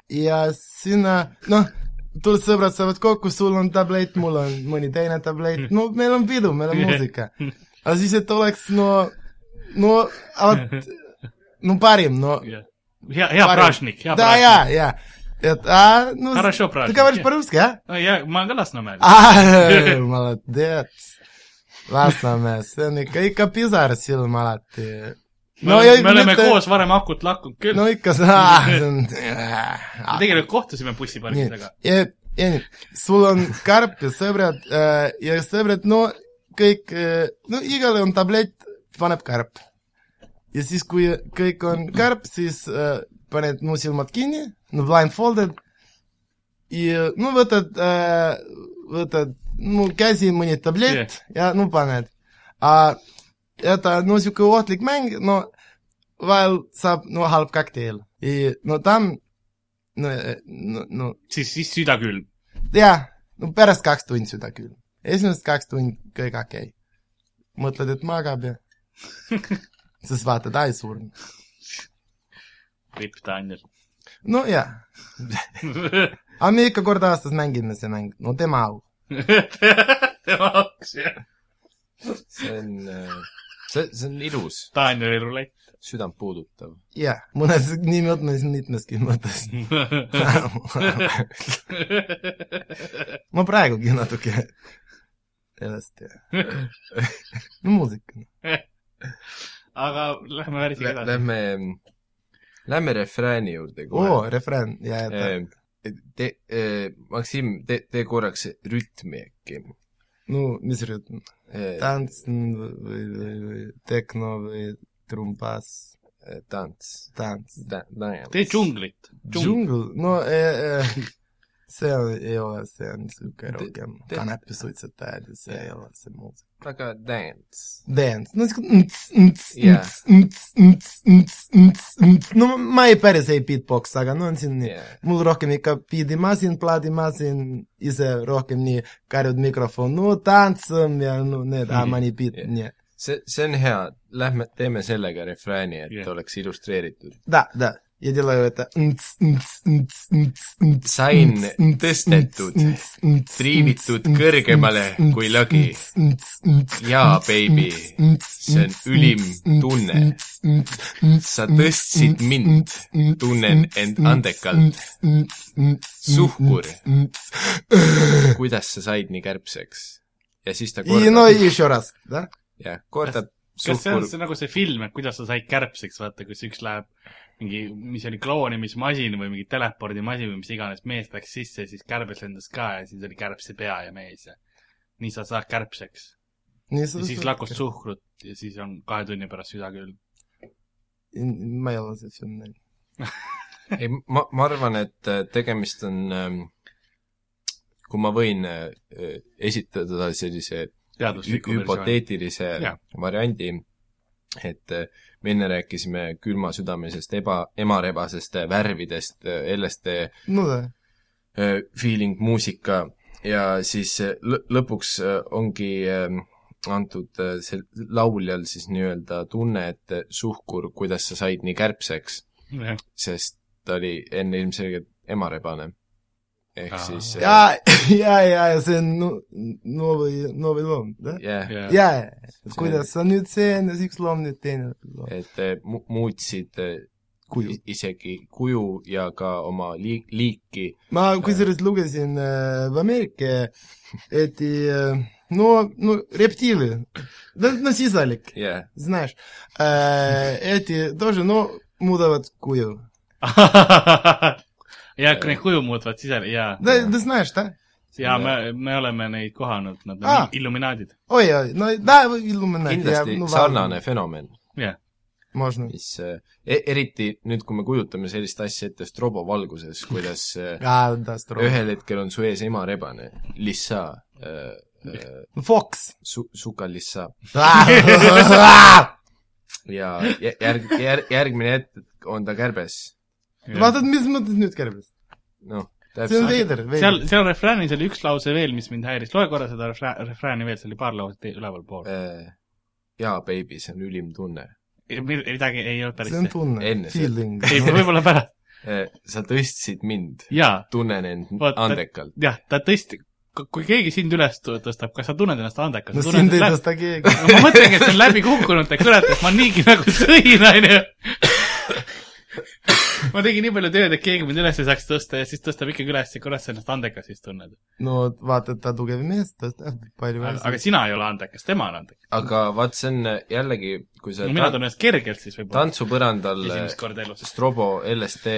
[SPEAKER 3] ja sinna , noh , tul- , sõbrad saavad kokku , sul on tablett , mul on mõni teine tablett , no meil on pidu , meil on muusika . aga siis , et oleks no , no , no parim , no ja,
[SPEAKER 2] hea , hea
[SPEAKER 3] Parim.
[SPEAKER 2] prašnik , hea
[SPEAKER 3] да ,
[SPEAKER 2] prašnik .
[SPEAKER 3] я , я . Это, а, ну...
[SPEAKER 2] Ja, Хорошо, Прашник,
[SPEAKER 3] Ты говоришь
[SPEAKER 2] я.
[SPEAKER 3] по-русски, а?
[SPEAKER 2] no ja ma olen ka Lasnamäel .
[SPEAKER 3] Ah, А, молодец. Lasna mees , see on ikka , ikka pisar silma alati .
[SPEAKER 2] me oleme- me oleme koos varem akut lakkunud küll
[SPEAKER 3] no
[SPEAKER 2] no, .
[SPEAKER 3] ikka sa
[SPEAKER 2] me . tegelikult kohtusime bussipargi
[SPEAKER 3] nii
[SPEAKER 2] taga .,
[SPEAKER 3] ja , ja nii , sul on karp ja sõbrad äh, ja sõbrad , no kõik äh, , no igale on tablett , paneb karp . ja siis , kui kõik on karp , siis äh, paned , no silmad kinni , no blindfolded ja no võtad äh, , võtad , no käsi mõni tablett yeah. ja no paned . aga ну, А это, ну, sihuke ohtlik mäng , no vahel saab , no halb kokteil . ja no tam , no , no, no
[SPEAKER 2] siis , siis süda külm .
[SPEAKER 3] jah , no pärast kaks tundi seda küll . esimesed kaks tundi kõik okei okay. . mõtled , et magab ja siis vaatad , ai surnud .
[SPEAKER 2] ripp Daniel .
[SPEAKER 3] no jah , aga me ikka kord aastas mängime see mäng , no tema au .
[SPEAKER 2] tema jaoks jah .
[SPEAKER 4] see on , see , see on ilus ,
[SPEAKER 2] Danieli rulett .
[SPEAKER 4] südant puudutav .
[SPEAKER 3] jah , mõnes nii mõtmes , mitmeski mõttes . ma praegugi natuke sellest , no muusika .
[SPEAKER 2] aga lähme värsiga edasi .
[SPEAKER 4] Lähme , lähme refrääni juurde
[SPEAKER 3] oo
[SPEAKER 4] kohe ,.
[SPEAKER 3] refrään , jaa , jaa ,
[SPEAKER 4] Te , Maksim , tee , tee korraks rütmi äkki . E,
[SPEAKER 3] no mis rütm , tants või , või , või tekno või trumbas
[SPEAKER 4] tants .
[SPEAKER 3] tants .
[SPEAKER 2] tee džunglit .
[SPEAKER 3] džungl , no e, e, see on, ei ole , see on niisugune
[SPEAKER 4] Te-
[SPEAKER 3] rohkem
[SPEAKER 4] te-
[SPEAKER 3] kanepisuitsetajad ja see ei ole see muusika .
[SPEAKER 4] aga dance .
[SPEAKER 3] Dance , no niisugune
[SPEAKER 4] Jaa.
[SPEAKER 3] no ma ei päris ei beatbox , aga no on siin
[SPEAKER 4] Ja.
[SPEAKER 3] nii . mul rohkem ikka piidimasin , plaadimasin , ise rohkem nii karjud mikrofon , no tantsim ja no need , aa ma nii beat ,
[SPEAKER 4] Jaa.
[SPEAKER 3] nii .
[SPEAKER 4] see , see on hea , lähme teeme sellega refrääni , et
[SPEAKER 2] Jah.
[SPEAKER 4] yeah. oleks illustreeritud .
[SPEAKER 3] Da , da , ja делаю это .
[SPEAKER 4] Sain tõstetud, triivitud kõrgemale kui lagi. jaa , baby , see on ülim tunne . sa tõstsid mind , tunnen end andekalt . suhkur , kuidas sa said nii kärbseks ? ja siis ta
[SPEAKER 3] И ну
[SPEAKER 4] kordab ,
[SPEAKER 3] еще раз , да?
[SPEAKER 4] jah , kordab
[SPEAKER 2] kas see on
[SPEAKER 4] suhkur
[SPEAKER 2] see nagu see film , et kuidas sa said kärbseks , vaata , kus üks läheb mingi , mis see oli kloonimismasin või mingi telepordimasin või mis iganes , mees läks sisse , siis kärbes lendas ka ja siis oli kärbse pea ja mees ja nii sa saad kärbseks . ja siis lakus suhkrut ja siis on kahe tunni pärast süda külm .
[SPEAKER 3] ma ei ole see film näinud .
[SPEAKER 4] ei , ma , ma arvan , et äh, tegemist on , kui ma võin äh, esitada sellise
[SPEAKER 2] teadusliku
[SPEAKER 4] hü- hüpoteetilise
[SPEAKER 2] Jaa.
[SPEAKER 4] variandi , et äh, me enne rääkisime külmasüdamesest eba , emarebasest äh, värvidest , LSD
[SPEAKER 3] no da ,
[SPEAKER 4] äh, feeling muusika ja siis äh, lõ- lõpuks äh, ongi äh, antud äh, sel- , lauljal siis nii-öelda tunne , et äh, suhkur , kuidas sa said nii kärbseks ,
[SPEAKER 2] versioon .
[SPEAKER 4] sest ta oli enne ilmselgelt emarebane . ehk
[SPEAKER 2] Aa.
[SPEAKER 4] siis äh,
[SPEAKER 3] ja , ja , ja see on no, novi , novi loom , da ?
[SPEAKER 4] jah ,
[SPEAKER 3] ja , ja , kuidas sa nüüd see enne , siis üks loom , nüüd teine loom .
[SPEAKER 4] et äh, mu- muutsid äh,
[SPEAKER 3] kuju .
[SPEAKER 4] isegi kuju ja ka oma liik- , liiki
[SPEAKER 3] ma kusjuures lugesin äh, в Америке эти, э, ну, ну, рептилии, да, ну, сизалик,
[SPEAKER 4] ja
[SPEAKER 3] знаешь, э, эти тоже, ну, мудоват кую.
[SPEAKER 2] ja kui neid
[SPEAKER 3] Äh.
[SPEAKER 2] kuju muutvad sisele ja ,
[SPEAKER 3] Да, ты знаешь, да?
[SPEAKER 2] ja me , me oleme neid kohanud , nad on
[SPEAKER 3] Aa.
[SPEAKER 2] ah. illuminaadid .
[SPEAKER 3] Ой, ой, ну, да, иллюминат.
[SPEAKER 4] kindlasti sarnane fenomen ,
[SPEAKER 2] jah ,
[SPEAKER 3] Можно.
[SPEAKER 4] mis äh, e- eriti nüüd , kui me kujutame sellist asja ette strobovalguses , kuidas äh,
[SPEAKER 3] А, да, строго.
[SPEAKER 4] ühel hetkel on su ees ema rebane , lissa äh, , äh,
[SPEAKER 3] Фокс.
[SPEAKER 4] su- , suka lissa
[SPEAKER 3] Ah. vaatad ,
[SPEAKER 4] ja jä- järg- , järg- , järgmine hetk on ta kärbes .
[SPEAKER 3] mis mõttes nüüd kärbes ?
[SPEAKER 4] noh ,
[SPEAKER 3] see on
[SPEAKER 4] täpselt .
[SPEAKER 3] veider ,
[SPEAKER 2] seal
[SPEAKER 3] veider .,
[SPEAKER 2] seal refräänis oli üks lause veel , mis mind häiris , loe korra seda refrää- refrääni veel , see oli paar lauset te- ülevalpool .
[SPEAKER 4] eh, jaa , baby , see on ülim tunne .
[SPEAKER 2] midagi ei olnud päris
[SPEAKER 3] Äh. see on
[SPEAKER 2] see .
[SPEAKER 3] tunne
[SPEAKER 4] Enne , seda.
[SPEAKER 3] feeling .
[SPEAKER 2] ei , võib-olla pärast .
[SPEAKER 4] Eh, sa tõstsid mind ,
[SPEAKER 2] jaa ,
[SPEAKER 4] tunnen end
[SPEAKER 2] Vaata-
[SPEAKER 4] andekalt .
[SPEAKER 2] jah , ta tõesti , kui keegi sind üles tu- tõstab , kas sa tunned ennast andekalt ?
[SPEAKER 3] no sind ei . tõsta keegi .
[SPEAKER 2] ma mõtlengi , et see on läbikukkunud , ta kõnetas , ma niigi nagu sõin , onju . ma tegin nii palju tööd , et keegi mind üles ei saaks tõsta ja siis tõstab ikkagi üles ja kuidas sa ennast andekas siis tunned .
[SPEAKER 3] no vaata , et ta tugev mees , ta tõstab palju
[SPEAKER 2] aga . sina ei ole andekas , tema on andekas .
[SPEAKER 4] aga vaat see on eh, jällegi , kui sa
[SPEAKER 2] no mina
[SPEAKER 4] tan-
[SPEAKER 2] tunnen ennast kergelt siis võib-olla .
[SPEAKER 4] tantsupõrandal
[SPEAKER 2] esimest korda elus .
[SPEAKER 4] strobo LSD ,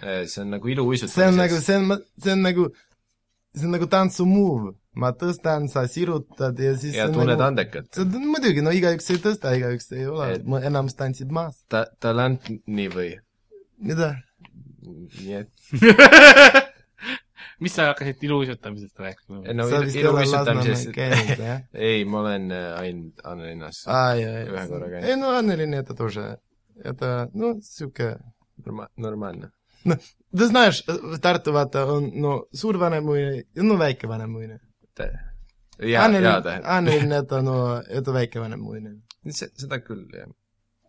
[SPEAKER 4] see on nagu iluuisutamises .
[SPEAKER 3] see on nagu , see on , see on nagu , see on nagu tantsumuv . ma tõstan , sa sirutad ja siis
[SPEAKER 4] ja
[SPEAKER 3] see on
[SPEAKER 4] tunned
[SPEAKER 3] nagu...
[SPEAKER 4] andekat .
[SPEAKER 3] see on muidugi , no igaüks ei tõsta , igaüks ei ole
[SPEAKER 4] Et- ,
[SPEAKER 3] enamus tantsib maas .
[SPEAKER 4] ta , talent nii või ?
[SPEAKER 3] mida ?
[SPEAKER 4] nii et ,
[SPEAKER 2] mis sa hakkasid iluuisutamisest rääkima ?
[SPEAKER 4] eh, no
[SPEAKER 3] sa
[SPEAKER 4] ilu-
[SPEAKER 3] vist ei ole Lasnamäel
[SPEAKER 4] iluuisutamises ,
[SPEAKER 3] käinud , jah ?
[SPEAKER 4] ei , ma olen äh, ainult Annelinnas .
[SPEAKER 3] ai , ai ,
[SPEAKER 4] Ühe korra käinud.
[SPEAKER 3] ei no Annelin , это тоже , это , ну , sihuke
[SPEAKER 4] Norma- , normaalne .
[SPEAKER 3] Ты знаешь , э, Tartu vaata on , no suurvanem muine ja no väikevanem muine .
[SPEAKER 4] jaa , jaa tähendab ,
[SPEAKER 3] Annelin , et on , et on väikevanem muine .
[SPEAKER 4] seda küll , jah .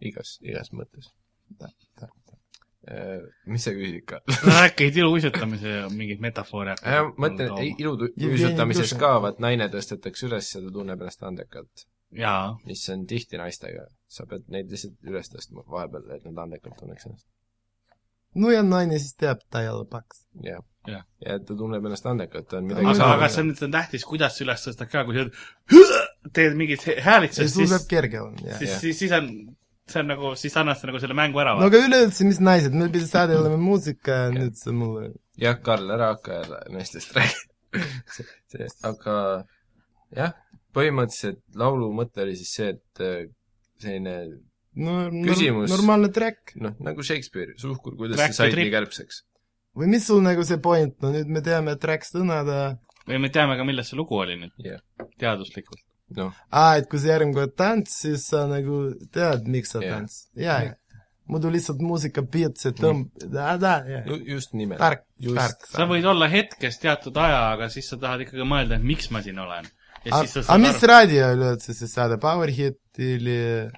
[SPEAKER 4] igas , igas mõttes Eh,
[SPEAKER 3] Ta- ta- .
[SPEAKER 4] mis sa küsisid ka ?
[SPEAKER 2] sa rääkisid iluuisutamise mingeid metafoore .
[SPEAKER 4] ma mõtlen ,
[SPEAKER 3] Jevgeni
[SPEAKER 4] iluuisutamises
[SPEAKER 3] Dušenko.
[SPEAKER 4] ka , vaat naine tõstetakse üles ja ta tunneb ennast andekalt ,
[SPEAKER 2] jaa ,
[SPEAKER 4] mis on tihti naistega . sa pead neid lihtsalt üles tõstma vahepeal , et nad andekalt tunneks ennast .
[SPEAKER 3] no ja naine siis teab , ta ei ole paks .
[SPEAKER 4] jah .
[SPEAKER 2] Jah.
[SPEAKER 4] ja et ta tunneb ennast andekalt , ta on
[SPEAKER 3] Aga-
[SPEAKER 4] midagi
[SPEAKER 2] aga , aga
[SPEAKER 4] saanud .
[SPEAKER 2] see on , see on tähtis , kuidas sa üles tõstad ka , kui sa oled- teed mingit hä-
[SPEAKER 3] see
[SPEAKER 2] häälitsust , siis
[SPEAKER 3] suudab , kerge olla , jah .
[SPEAKER 2] siis , siis , siis on , see on nagu , siis annad sa nagu selle mängu ära
[SPEAKER 3] no . aga üleüldse , mis naised , meil pidi saade olema muusika , nüüd see mulle ,
[SPEAKER 4] jah , Karl , ära hakka jälle naistest rääkima . aga jah , põhimõtteliselt laulu mõte oli siis see , et äh, selline
[SPEAKER 3] no nor-
[SPEAKER 4] Küsimus.
[SPEAKER 3] normaalne track .
[SPEAKER 4] noh , nagu Shakespeare , suhkur , kuidas
[SPEAKER 2] Track
[SPEAKER 4] sa said
[SPEAKER 2] ja trip.
[SPEAKER 4] nii kärbseks .
[SPEAKER 3] või mis sul nagu see point , no nüüd me teame , et track sõnad ,
[SPEAKER 2] või me teame ka , milles see lugu oli nüüd
[SPEAKER 4] Jah.
[SPEAKER 2] teaduslikult .
[SPEAKER 4] noh ,
[SPEAKER 3] aa , et kui see järgmine kord tants , siis sa nagu tead , miks sa
[SPEAKER 4] Jah.
[SPEAKER 3] tants . jaa , jah . muidu lihtsalt muusika piits ja tõmb- , jaa , jaa .
[SPEAKER 4] just nimelt .
[SPEAKER 3] tark ,
[SPEAKER 4] Just.
[SPEAKER 3] tark .
[SPEAKER 2] sa võid olla hetkes teatud aja , aga siis sa tahad ikkagi mõelda , et miks ma siin olen . ja siis sa saad
[SPEAKER 3] aga Ah, mis
[SPEAKER 2] aru ,
[SPEAKER 3] raadio üleüldse siis saade , Powerhit или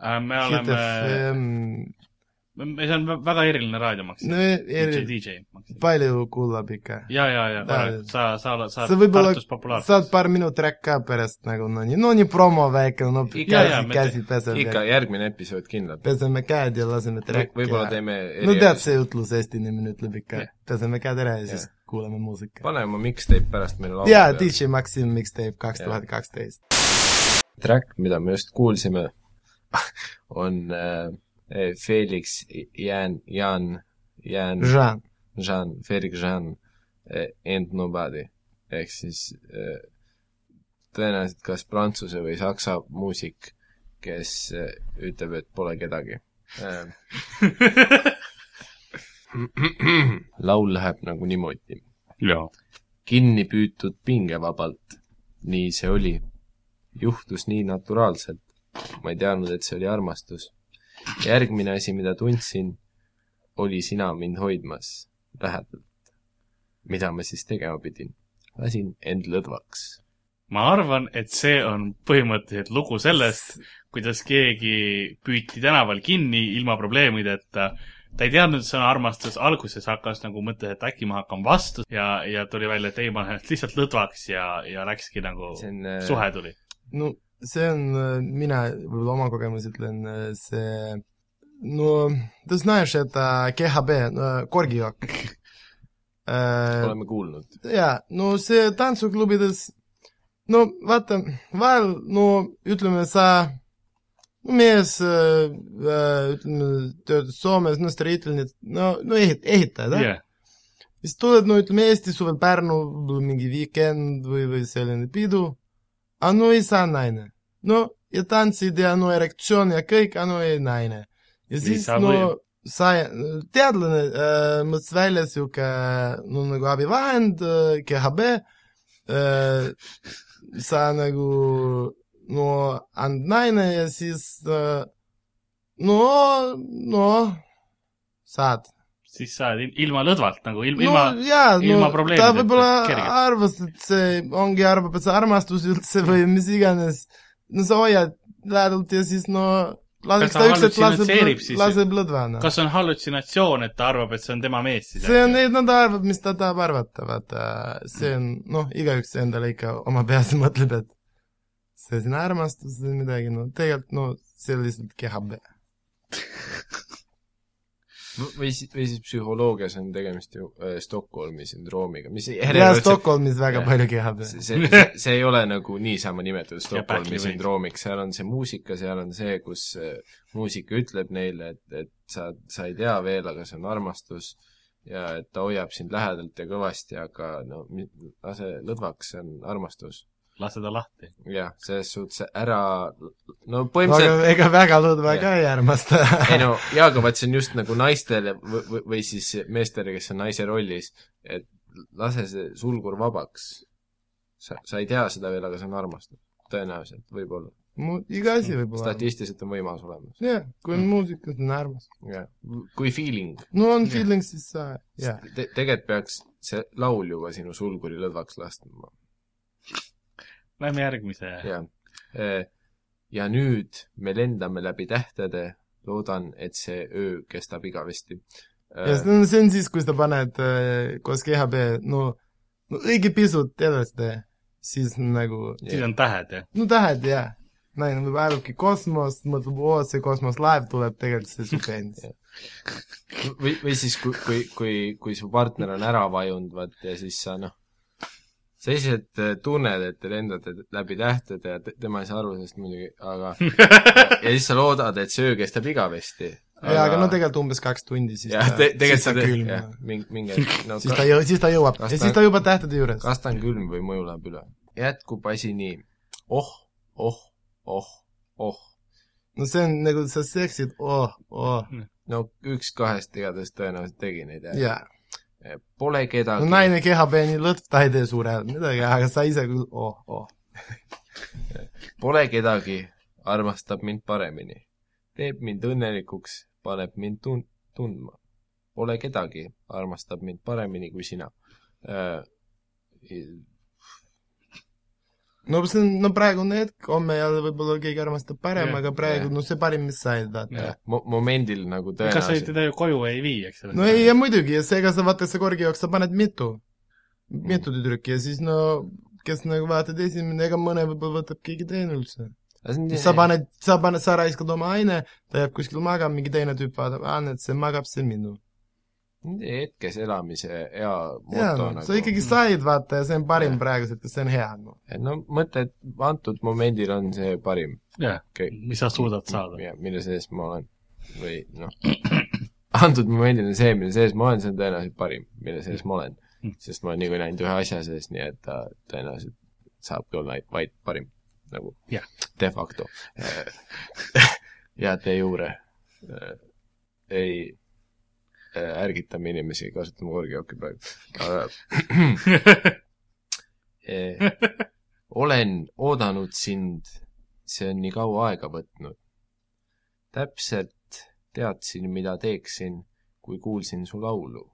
[SPEAKER 2] Äh, me
[SPEAKER 3] Hit
[SPEAKER 2] oleme ,
[SPEAKER 3] FM ,
[SPEAKER 2] see on vä- väga eriline raadiomaksja
[SPEAKER 3] no
[SPEAKER 2] no, , DJ ,
[SPEAKER 3] eri- ,
[SPEAKER 2] DJ maksja .
[SPEAKER 3] palju kuulab ikka .
[SPEAKER 2] ja , ja , ja
[SPEAKER 3] Da. ,
[SPEAKER 2] sa , sa oled , sa
[SPEAKER 3] Äh, sa
[SPEAKER 2] oled
[SPEAKER 3] võib-olla
[SPEAKER 2] Tartus populaarne .
[SPEAKER 3] saad paar minutit räkka pärast nagu , no nii , no nii promo väike , no
[SPEAKER 4] Ikka,
[SPEAKER 2] jaa,
[SPEAKER 3] käsi ,
[SPEAKER 2] me
[SPEAKER 3] käsi
[SPEAKER 4] ikka
[SPEAKER 3] peseme ,
[SPEAKER 4] järgmine episood kindlalt .
[SPEAKER 3] peseme käed ja laseme träkki
[SPEAKER 4] võib-olla . teeme
[SPEAKER 3] no tead , see ütlus , Eesti inimene ütleb ikka
[SPEAKER 2] Jah. ,
[SPEAKER 3] peseme käed ära ja siis
[SPEAKER 4] Jah.
[SPEAKER 3] kuulame muusika .
[SPEAKER 4] pane oma mixtape pärast meile laulu
[SPEAKER 3] jaa , DJ Maxim mixtape kaks
[SPEAKER 4] Jah.
[SPEAKER 3] tuhat kaksteist .
[SPEAKER 4] track , mida me just kuulsime , on äh, Felix Jan , Jan , Jan
[SPEAKER 3] Jean ,
[SPEAKER 4] Jean , Ferik Jean eh, and nobody . ehk siis eh, tõenäoliselt kas prantsuse või saksa muusik , kes eh, ütleb , et pole kedagi . Äh, laul läheb nagu niimoodi .
[SPEAKER 2] jaa .
[SPEAKER 4] kinni püütud pingevabalt . nii see oli . juhtus nii naturaalselt . ma ei teadnud , et see oli armastus . järgmine asi , mida tundsin , oli sina mind hoidmas lähedalt . mida ma siis tegema pidin ? lasin end lõdvaks .
[SPEAKER 2] ma arvan , et see on põhimõtteliselt lugu sellest , kuidas keegi püüti tänaval kinni ilma probleemideta . ta ei teadnud , et see on armastus , alguses hakkas nagu mõte , et äkki ma hakkan vastu ja , ja tuli välja , et ei , ma lähen ennast lihtsalt lõdvaks ja , ja läkski nagu
[SPEAKER 4] see on äh,
[SPEAKER 2] suhe tuli .
[SPEAKER 3] no see on , mina võib-olla oma kogemus ütlen , see no ты знаешь , et äh, KHB , korgijook .
[SPEAKER 4] oleme kuulnud .
[SPEAKER 3] Äh, jaa , no see tantsuklubides , no vaata , vahel no ütleme , sa , mees , ütleme , töötab Soomes , no streetelnid , no , no ehit- , ehitajad , jah ?
[SPEAKER 2] jah ,
[SPEAKER 3] siis tuled , no ütleme Eesti suvel Pärnu mingi vikend või , või selline pidu , aga no ei saa naine . no ja tantsid ja no erektsioon ja kõik , aga no ei naine . ja siis
[SPEAKER 2] saa
[SPEAKER 3] no
[SPEAKER 2] või-
[SPEAKER 3] sai , teadlane äh, mõtles välja sihuke no nagu abivahend äh, , KHB äh, , sa nagu no and naine ja siis äh, no , no saad .
[SPEAKER 2] siis sa oled ilma lõdvalt nagu ilma ,
[SPEAKER 3] no
[SPEAKER 2] ilma
[SPEAKER 3] jaa ,
[SPEAKER 2] ilma
[SPEAKER 3] no ta
[SPEAKER 2] probleemideta,
[SPEAKER 3] võib-olla
[SPEAKER 2] kergelt.
[SPEAKER 3] arvas , et see ongi , arvab , et see armastus üldse või mis iganes . no sa hoiad lähedalt ja siis no
[SPEAKER 2] Kas
[SPEAKER 3] laseks ta
[SPEAKER 2] ta
[SPEAKER 3] ükskord
[SPEAKER 2] hallutsinatseerib
[SPEAKER 3] laseb
[SPEAKER 2] siis? ,
[SPEAKER 3] laseb lõdvana .
[SPEAKER 2] kas on hallutsinatsioon , et ta arvab , et see on tema mees siis ?
[SPEAKER 3] see on , no ta arvab , mis ta tahab arvata , vaata , see on , noh , igaüks endale ikka oma peas mõtleb , et see on armastus või midagi , no tegelikult , no see on lihtsalt kehab .
[SPEAKER 4] või siis , või siis psühholoogias on tegemist ju äh, Stockholmi sündroomiga , mis
[SPEAKER 3] ja Stockholmis väga
[SPEAKER 4] jah.
[SPEAKER 3] palju kehab .
[SPEAKER 4] see , see , see ei ole nagu niisama nimetatud
[SPEAKER 2] Pähkli
[SPEAKER 4] Stockholmi
[SPEAKER 2] võit.
[SPEAKER 4] sündroomiks , seal on see muusika , seal on see , kus äh, muusika ütleb neile , et , et sa , sa ei tea veel , aga see on armastus ja et ta hoiab sind lähedalt ja kõvasti , aga no mi- lase lõdvaks , see on armastus .
[SPEAKER 2] lase ta lahti .
[SPEAKER 4] jah , selles suhtes ära , no
[SPEAKER 3] aga
[SPEAKER 4] põhimõtteliselt
[SPEAKER 3] ega väga lõdva ka ei armasta .
[SPEAKER 4] ei no jaa , aga vaat see on just nagu naistele või , või , või siis meestele , kes on naise rollis , et lase see sulgur vabaks . sa , sa ei tea seda veel , aga see on armastus . tõenäoliselt , võib-olla .
[SPEAKER 3] iga asi võib olla .
[SPEAKER 4] statistiliselt on võimalus olemas .
[SPEAKER 3] jah , kui
[SPEAKER 4] Mm.
[SPEAKER 3] on muusika , siis on armastus .
[SPEAKER 4] jah , kui feeling
[SPEAKER 3] no on
[SPEAKER 2] Jah.
[SPEAKER 3] feeling , siis sa , jah .
[SPEAKER 4] Te, . tegelikult peaks see laul juba sinu sulguri lõdvaks laskma .
[SPEAKER 2] Lähme järgmise .
[SPEAKER 4] jah . e, ja nüüd me lendame läbi tähtede , loodan , et see öö kestab igavesti . E,
[SPEAKER 3] ja see on , see on siis , kui sa paned äh, koos GHB , no , no e õige pisut edasi , siis on nagu ,
[SPEAKER 2] siis on tähed , jah ?
[SPEAKER 3] no tähed ja , naine võib arvabki kosmos , mõtleb , oo , see kosmoselaev tuleb tegelikult see süsteemis .
[SPEAKER 4] või , või siis , kui , kui , kui , kui su partner on ära vajunud , vaat ja siis sa noh , sa lihtsalt eh, tunned , et te lendate läbi tähtede ja te, tema ei saa aru sellest muidugi , aga ja siis sa loodad , et see öö kestab igavesti .
[SPEAKER 3] jaa , aga no tegelikult umbes kaks tundi , siis
[SPEAKER 4] jah , te- ,
[SPEAKER 3] siis ta
[SPEAKER 4] tegelikult sa teed ,
[SPEAKER 3] külm
[SPEAKER 4] jah , mingi , mingi no, ,
[SPEAKER 3] siis ta jõu- , siis ta jõuab , ja
[SPEAKER 4] Kas ta-
[SPEAKER 3] siis ta juba tähtede juures .
[SPEAKER 4] kas ta on külm või mõju läheb üle . jätkub asi nii . oh , oh , oh , oh .
[SPEAKER 3] no see on nagu , sa seksid , oh , oh ,
[SPEAKER 4] no üks kahest igatahes tõenäoliselt tegi neid jah
[SPEAKER 3] jaa .
[SPEAKER 4] yeah. . Pole kedagi
[SPEAKER 3] no naine GHB nii lõtv , ta ei tee suure midagi , aga sa ise küll , oh , oh .
[SPEAKER 4] Pole kedagi , armastab mind paremini , teeb mind õnnelikuks , paneb mind tun- , tundma . Pole kedagi , armastab mind paremini kui sina . Äh,
[SPEAKER 3] no see on , no praegune hetk , homme jälle võib-olla keegi armastab parem ,
[SPEAKER 2] Jah.
[SPEAKER 3] aga praegu
[SPEAKER 4] Jah.
[SPEAKER 3] no see parim , mis sai , vaata .
[SPEAKER 4] momendil nagu
[SPEAKER 2] kas sa
[SPEAKER 4] tõenäoliselt .
[SPEAKER 2] teda ju koju ei vii , eks ole ?
[SPEAKER 3] no ei , ja muidugi , ja seega sa vaata , sa korgi jooks , sa paned mitu , mitu tüdrukki ja siis no kes nagu vaatad esimene , ega mõne võib-olla võtab keegi teine üldse . sa . paned , sa paned , sa raiskad oma aine , ta jääb kuskil magama , mingi teine tüüp vaatab , aa , näed , see magab , see minu .
[SPEAKER 4] hetkes elamise hea
[SPEAKER 3] jaa
[SPEAKER 4] moto ,
[SPEAKER 3] sa
[SPEAKER 4] nagu .
[SPEAKER 2] Mm.
[SPEAKER 3] ikkagi said , vaata , ja see on parim
[SPEAKER 4] Jah.
[SPEAKER 3] praeguselt ja see on hea , noh .
[SPEAKER 4] no mõtle , et antud momendil on see parim ,
[SPEAKER 2] jah , mis sa suudad saada .
[SPEAKER 4] ja mille sees ma olen või noh , antud momendil on see , mille sees ma olen , see on tõenäoliselt parim , mille sees ma olen
[SPEAKER 2] Mm. .
[SPEAKER 4] sest ma olen niikuinii ainult ühe asja sees , nii et ta tõenäoliselt saabki olla ainult vaid parim nagu
[SPEAKER 2] Jah.
[SPEAKER 4] de facto ja de jure ei äh, ärgitame inimesi kasutama korgijooki praegu , aga Eh, olen oodanud sind , see on nii kaua aega võtnud . täpselt teadsin , mida teeksin , kui kuulsin su laulu .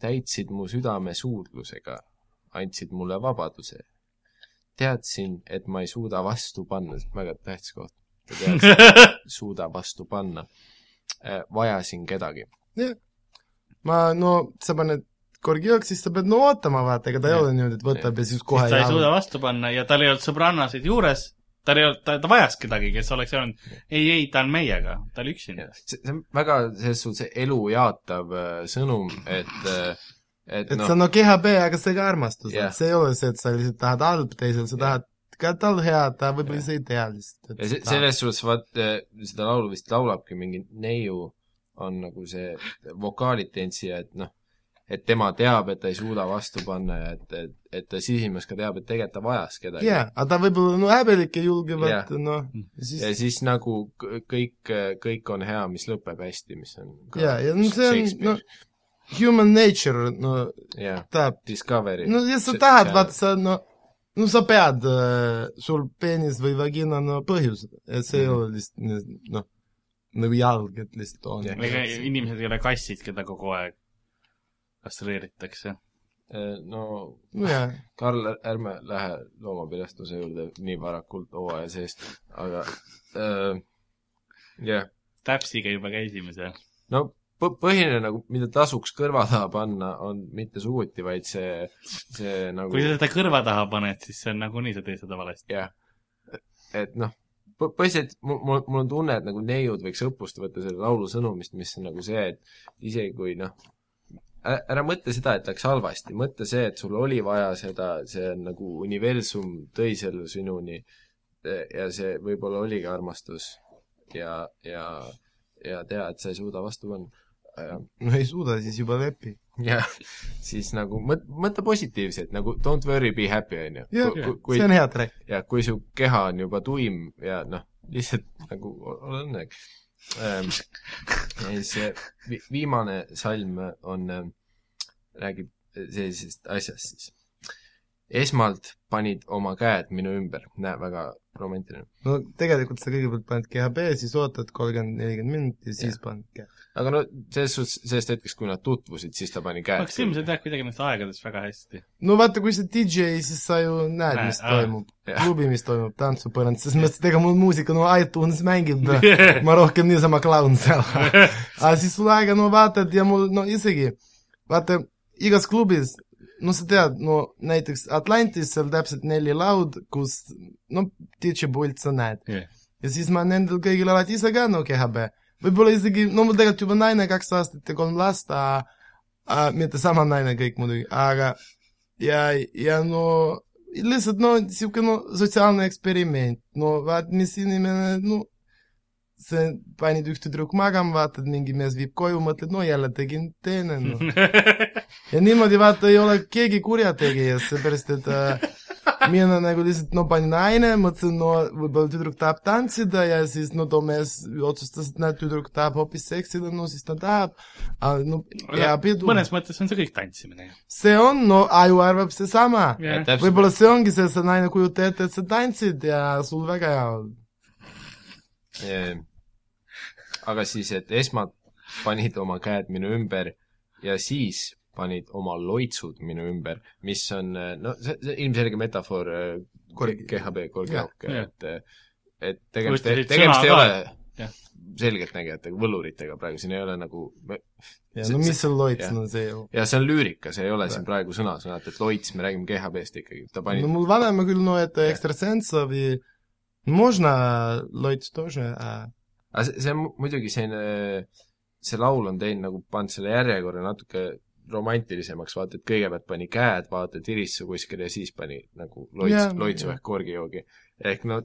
[SPEAKER 4] täitsid mu südame suudlusega , andsid mulle vabaduse . teadsin , et ma ei suuda vastu panna , see on väga tähtis koht . suuda vastu panna . vajasin kedagi .
[SPEAKER 3] ma , no sa paned korgi jooks , siis sa pead no ootama , vaata , ega ta ei
[SPEAKER 2] Jah.
[SPEAKER 3] ole niimoodi , et võtab ja siis kohe
[SPEAKER 2] siis ta ei suuda vastu panna ja tal ei olnud sõbrannasid juures , tal ei olnud , ta , ta vajas kedagi , kes oleks öelnud ei , ei , ta on meiega , ta oli üksinda .
[SPEAKER 4] see see on väga selles suhtes elu jaatav eh, sõnum , et , et noh,
[SPEAKER 3] et no. see on no GHB , aga see ka armastus
[SPEAKER 4] Jah.
[SPEAKER 3] yeah. , see ei ole see , et sa lihtsalt tahad halba teisele , sa
[SPEAKER 4] Jah.
[SPEAKER 3] yeah. tahad ka tal head , ta võib-olla ise ei tea lihtsalt .
[SPEAKER 4] ja se- , selles suhtes vaat eh, seda laulu vist laulabki mingi neiu , on nagu see vokaalid tantsija , et noh , et tema teab , et ta ei suuda vastu panna ja et , et , et ta sisimas ka teab , et tegelikult ta vajas kedagi
[SPEAKER 3] jaa , aga ta võib-olla , no häbelik ei julge ,
[SPEAKER 4] Jah.
[SPEAKER 3] vaata , noh ,
[SPEAKER 4] ja
[SPEAKER 3] siis
[SPEAKER 4] siis nagu k- kõik , kõik on hea , mis lõpeb hästi , mis on ka
[SPEAKER 3] Jaa, ja no see on,
[SPEAKER 4] Shakespeare.
[SPEAKER 3] human nature , no
[SPEAKER 4] jah ,
[SPEAKER 3] tahab ,
[SPEAKER 4] Discovery .
[SPEAKER 3] no ja sa tahad , vaata , sa no , no sa pead äh, , sul peenis või vagina , no põhjus , et see ei
[SPEAKER 4] Mhm.
[SPEAKER 3] ole lihtsalt , noh , nagu jalg , et lihtsalt on
[SPEAKER 4] Jah.
[SPEAKER 2] ega inimesed ei ole kassid , keda kogu aeg kastreeritakse .
[SPEAKER 4] Äh, no
[SPEAKER 3] nojah ,
[SPEAKER 4] Karl , ärme lähe loomapilastuse juurde nii varakult hooaja sees , aga äh, jah .
[SPEAKER 2] täpsiga juba käisime seal .
[SPEAKER 4] no põ- põhiline nagu , mida tasuks kõrva taha panna , on mitte suguti , vaid see , see nagu
[SPEAKER 2] kui sa seda kõrva taha paned , siis see on nagunii , sa teed seda valesti .
[SPEAKER 4] jah , et noh , põhiliselt mul , mul , mul on tunne , et nagu neiud võiks õppust võtta selle laulu sõnumist , mis on nagu see , et isegi kui noh , ära mõtle seda , et läks halvasti , mõtle see , et sul oli vaja seda , see on nagu universum tõi selle sinuni eh, ja see võib-olla oligi armastus ja , ja , ja tea , et sa ei suuda vastu panna .
[SPEAKER 3] no ei suuda , siis juba lepi .
[SPEAKER 4] jah , siis nagu mõt- , mõtle positiivselt , nagu don't worry , be happy , on ju .
[SPEAKER 3] jah ,
[SPEAKER 4] kui
[SPEAKER 3] see on hea track .
[SPEAKER 4] ja kui su keha on juba tuim ja noh , lihtsalt nagu o- ole õnnelik ähm, . siis eh, vi- viimane salm on , räägib sellisest asjast siis . esmalt panid oma käed minu ümber , näe , väga romantiline .
[SPEAKER 3] no tegelikult sa kõigepealt paned GHB , siis ootad kolmkümmend , nelikümmend minutit ja siis paned GHB .
[SPEAKER 4] aga no selles suhtes , sellest hetkest , kui nad tutvusid , siis ta pani käed .
[SPEAKER 2] Maksim , sa tead kuidagi nendest aegadest väga hästi .
[SPEAKER 3] no vaata , kui sa DJ , siis sa ju näed
[SPEAKER 2] Näed, ,
[SPEAKER 3] mis
[SPEAKER 2] aa,
[SPEAKER 3] toimub .
[SPEAKER 4] jah.
[SPEAKER 3] klubi , mis toimub , tantsupõrand , selles mõttes , et ega mul muusika , no iTunes mängib , ma rohkem niisama klaun seal . aga siis sul aega , no vaatad ja mul , no isegi , vaata , igas klubis , no sa tead , no näiteks Atlantis seal täpselt neli laud , kus no DJ pult sa näed . ja siis ma nendel kõigil alati ise ka , no GHB . võib-olla isegi , no mul tegelikult juba naine kaks aastat ja kolm last , mitte sama naine kõik muidugi , aga ja , ja no lihtsalt no niisugune no, sotsiaalne eksperiment , no vaat mis inimene , no sa panid ühte-tükk magama , vaatad , mingi mees viib koju , mõtled , no jälle tegin teine , noh . ja niimoodi vaata ei ole keegi kurjategija , seepärast et äh, mina nagu lihtsalt no panin aine , mõtlesin , no võib-olla tüdruk tahab tantsida ja siis no too mees otsustas , et näed , tüdruk tahab hoopis seksida , no siis ta tahab . no ja pidu ,
[SPEAKER 2] mõnes mõttes on see kõik tantsimine .
[SPEAKER 3] see on , no aju arvab seesama . võib-olla see ongi see , sa naine kujuta ette , et sa tantsid ja sul väga hea on .
[SPEAKER 4] aga siis , et esmalt panid oma käed minu ümber ja siis panid oma loitsud minu ümber , mis on , no see , see ilmselge metafoor eh,
[SPEAKER 3] Korgi-
[SPEAKER 4] GHB kolmkümmend ,
[SPEAKER 2] Jah.
[SPEAKER 4] et äh, et tegemist ,
[SPEAKER 2] Ütlesid
[SPEAKER 4] tegemist ei
[SPEAKER 2] sõna
[SPEAKER 4] ole
[SPEAKER 2] Jah.
[SPEAKER 4] selgeltnägijatega , võluritega praegu , siin ei ole nagu ,
[SPEAKER 3] ja
[SPEAKER 4] See-
[SPEAKER 3] no mis seal loits
[SPEAKER 4] jah.
[SPEAKER 3] on see ju .
[SPEAKER 4] ja see on lüürika , see ei ole siin praegu sõna-sõnalt , et loits , me räägime GHB-st ikkagi , ta pani
[SPEAKER 3] Ну, мы знаем, говорю, ну, это экстрасенсов, и можно Ллойд тоже, а...
[SPEAKER 4] aga see , see on mu- muidugi selline , see laul on teinud nagu , pannud selle järjekorra natuke romantilisemaks , vaata , et kõigepealt pani käed , vaata , tiris su kuskile ja siis pani nagu
[SPEAKER 3] Jaa,
[SPEAKER 4] loits , loitsu
[SPEAKER 3] jaa.
[SPEAKER 4] ehk korgijoogi . ehk no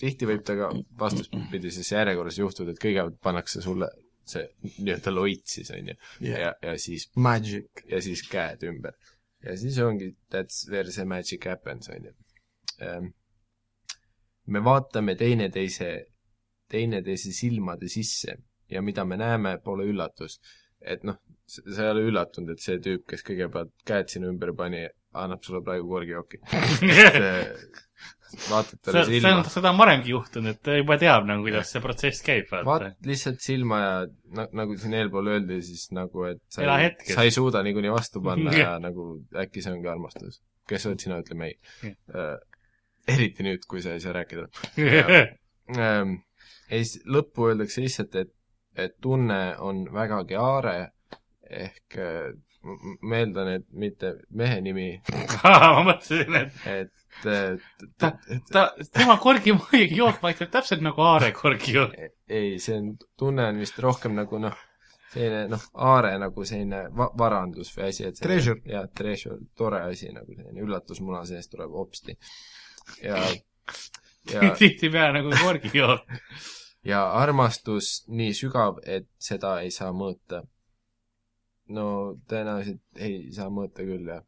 [SPEAKER 4] tihti võib ta ka vastuspidises järjekorras juhtuda , et kõigepealt pannakse sulle see nii-öelda loits siis onju
[SPEAKER 3] Jah.
[SPEAKER 4] ja , ja siis ,
[SPEAKER 3] Magic.
[SPEAKER 4] ja siis käed ümber . ja siis ongi that's where the magic happens onju . me vaatame teineteise teineteise silmade sisse ja mida me näeme , pole üllatus . et noh , sa ei ole üllatunud , et see tüüp , kes kõigepealt käed sinu ümber pani , annab sulle praegu korgijooki . äh, vaatad talle
[SPEAKER 2] see , see
[SPEAKER 4] silma
[SPEAKER 2] on , seda on varemgi juhtunud , ta juba teab nagu , kuidas see protsess käib , vaata .
[SPEAKER 4] vaat lihtsalt silma ja na- , nagu siin eelpool öeldi , siis nagu , et sa
[SPEAKER 2] Ela
[SPEAKER 4] ei,
[SPEAKER 2] hetkes.
[SPEAKER 4] sa ei suuda niikuinii vastu panna
[SPEAKER 2] Jah.
[SPEAKER 4] ja nagu äkki see ongi armastus . kes oled sina , ütleme ei
[SPEAKER 2] Jah.
[SPEAKER 4] uh, . eriti nüüd , kui sa ei saa rääkida . ähm, ja siis lõppu öeldakse lihtsalt , et , et tunne on vägagi aare ehk äh, m- m- ma eeldan , et mitte mehe nimi ,
[SPEAKER 2] ma mõtlesin , et
[SPEAKER 4] et äh, t-
[SPEAKER 2] Ta-
[SPEAKER 4] t- t-
[SPEAKER 2] ta , tema korgijook maitseb täpselt nagu Aare korgijook .
[SPEAKER 4] ei , see on , tunne on vist rohkem nagu noh , selline noh , aare nagu selline va- , varandus või asi , et
[SPEAKER 3] Treasure.
[SPEAKER 4] jaa , treasure , tore asi nagu selline üllatusmuna sees tuleb hopsti . ja , ja
[SPEAKER 2] tihtipeale nagu korgijook .
[SPEAKER 4] ja armastus nii sügav , et seda ei saa mõõta . no tõenäoliselt ei saa mõõta küll jah .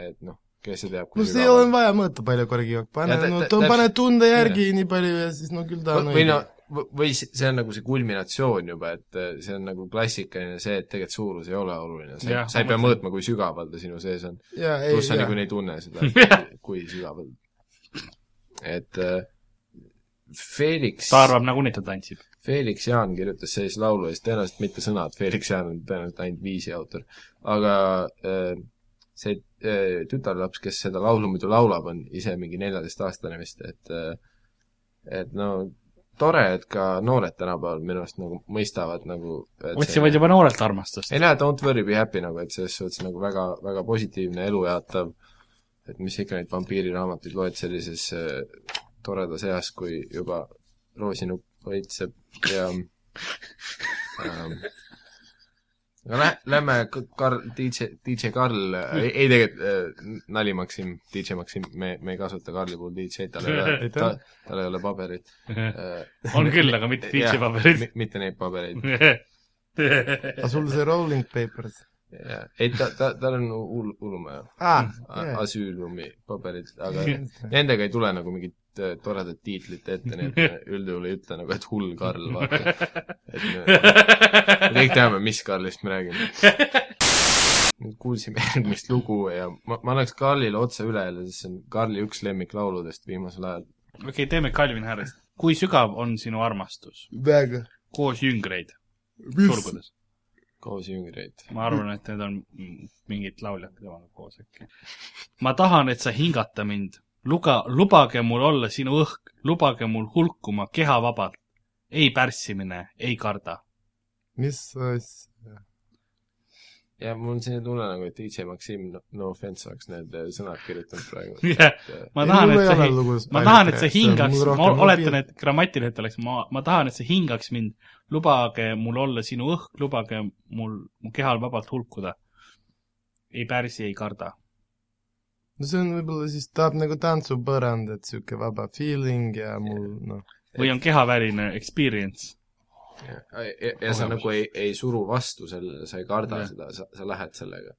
[SPEAKER 4] et noh , kes see teab ,
[SPEAKER 3] Ну, see ei ole vaja mõõta palju korgi , pane
[SPEAKER 4] Ja tä- ,
[SPEAKER 3] no
[SPEAKER 4] tä-
[SPEAKER 3] too
[SPEAKER 4] täpselt-
[SPEAKER 3] pane tunde järgi nii palju ja siis no küll ta
[SPEAKER 4] või või no , või s- see on nagu see kulminatsioon juba , et eh, see on nagu klassikaline see , et tegelikult suurus ei ole oluline , sa
[SPEAKER 2] Jah,
[SPEAKER 4] ei , sa
[SPEAKER 2] ma
[SPEAKER 4] ei pea
[SPEAKER 2] mõtlen.
[SPEAKER 4] mõõtma , kui sügaval ta sinu sees on .
[SPEAKER 3] ja ei ,
[SPEAKER 4] pluss sa
[SPEAKER 3] ja ,
[SPEAKER 4] niikuinii ei tunne seda , kui sügaval . et eh, Felix ,
[SPEAKER 2] ta arvab nagunii , et ta tantsib .
[SPEAKER 4] Felix Jaan kirjutas sellise laulu ja siis tõenäoliselt mitte sõnad , Felix Jaan on tõenäoliselt ainult viisi autor , aga eh, see eh, tütarlaps , kes seda laulu muidu laulab , on ise mingi neljateistaastane vist , äh, et eh, et no tore , et ka noored tänapäeval minu arust nagu mõistavad nagu et
[SPEAKER 2] otsivad juba noorelt armastust .
[SPEAKER 4] ei näe Don't worry be happy nagu , et selles suhtes nagu väga , väga positiivne , elujaatav , et mis ikka neid vampiiriraamatuid loed sellises äh, toredas eas , kui juba roosinupp õitseb ja ähm, aga lä- , lähme K- Karl , DJ , DJ Karl , ei , ei tegelikult äh, nali Maksim , DJ Maksim , me , me ei kasuta Karli puhul DJ-d , tal ei ole , ta, tal ei ole paberit äh, .
[SPEAKER 2] on küll , aga mitte DJ paberid .
[SPEAKER 4] mitte neid pabereid .
[SPEAKER 3] aga sul see rolling papers
[SPEAKER 4] Jaa. ei , ta , ta , tal on hull , hullumaja
[SPEAKER 3] ah, .
[SPEAKER 4] yeah. , asüülumi paberid , aga nendega ei tule nagu mingit äh, toredat tiitlit ette , nii et me üldjuhul ei ütle nagu , et hull Karl , vaata . et me, me kõik teame , mis Karlist me räägime . nüüd kuulsime järgmist lugu ja ma , ma annaks Karlile otse üle jälle , sest see on Karli üks lemmiklauludest viimasel ajal .
[SPEAKER 2] okei , teeme Calvin Harris . kui sügav on sinu armastus
[SPEAKER 3] väga .
[SPEAKER 2] koos jüngreid
[SPEAKER 3] mis ,
[SPEAKER 2] sulgudes ?
[SPEAKER 4] koos jüngreid .
[SPEAKER 2] ma arvan , et need on mm, mingid lauljad temaga koos äkki . ma tahan , et sa hingata mind . luga , lubage mul olla sinu õhk , lubage mul hulkuma kehavabalt . ei pärssimine , ei karda .
[SPEAKER 3] mis asja ?
[SPEAKER 4] ja mul on selline tunne nagu , et DJ Maksim , no offense oleks need äh, sõnad kirjutanud praegu .
[SPEAKER 2] Jah. ma tahan , et sa hi- , ma tahan , et sa hingaks , ma oletan ,
[SPEAKER 3] et .
[SPEAKER 2] et grammatiliselt oleks ma , ma tahan , et sa hingaks mind . lubage mul olla sinu õhk , lubage mul mu kehal vabalt hulkuda . ei pärsi , ei karda .
[SPEAKER 3] no see on võib-olla siis tahab nagu tantsupõrand , et sihuke vaba feeling ja mul noh ,
[SPEAKER 2] või on kehaväline experience .
[SPEAKER 4] ja, ja, ja sa nagu ei , ei suru vastu sellele , sa ei karda
[SPEAKER 2] Jah.
[SPEAKER 4] ja. seda , sa , sa lähed sellega .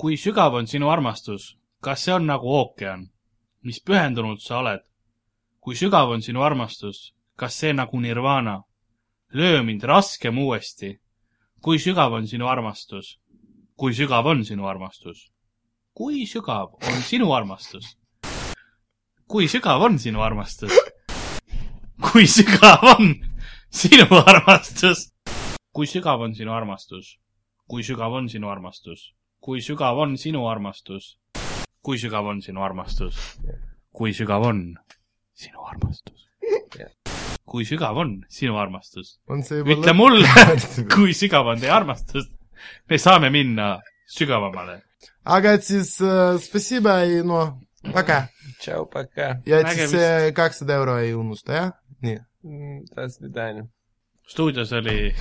[SPEAKER 2] kui sügav on sinu armastus , kas see on nagu ookean ? mis pühendunud sa oled ? kui sügav on sinu armastus , kas see nagu nirvana ? löö mind raskem uuesti . kui sügav on sinu armastus ? kui sügav on sinu armastus ? kui sügav on sinu armastus ? kui sügav on sinu armastus ? kui sügav on sinu armastus ? kui sügav on sinu armastus ? kui sügav on sinu armastus ? kui sügav on sinu armastus ? kui sügav on sinu armastus ? kui sügav on sinu armastus ? kui sügav on sinu armastus ?
[SPEAKER 3] on see juba
[SPEAKER 2] ütle mulle , kui sügav on teie armastus . me saame minna sügavamale .
[SPEAKER 3] aga et siis äh, spasiba ja noh , väga .
[SPEAKER 4] tšau , paka .
[SPEAKER 3] ja et siis
[SPEAKER 2] Nägemist.
[SPEAKER 3] see kakssada euro ei unusta , jah ? nii .
[SPEAKER 4] tahtsid mida onju ?
[SPEAKER 2] stuudios oli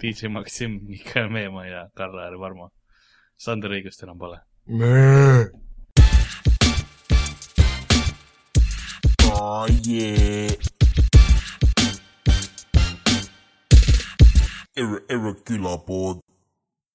[SPEAKER 2] DJ Maksim , Mikael Meemaa ja Karl-Aar Varmo . Sander õigust enam pole .
[SPEAKER 1] Oh yeah. Ir- irregular board.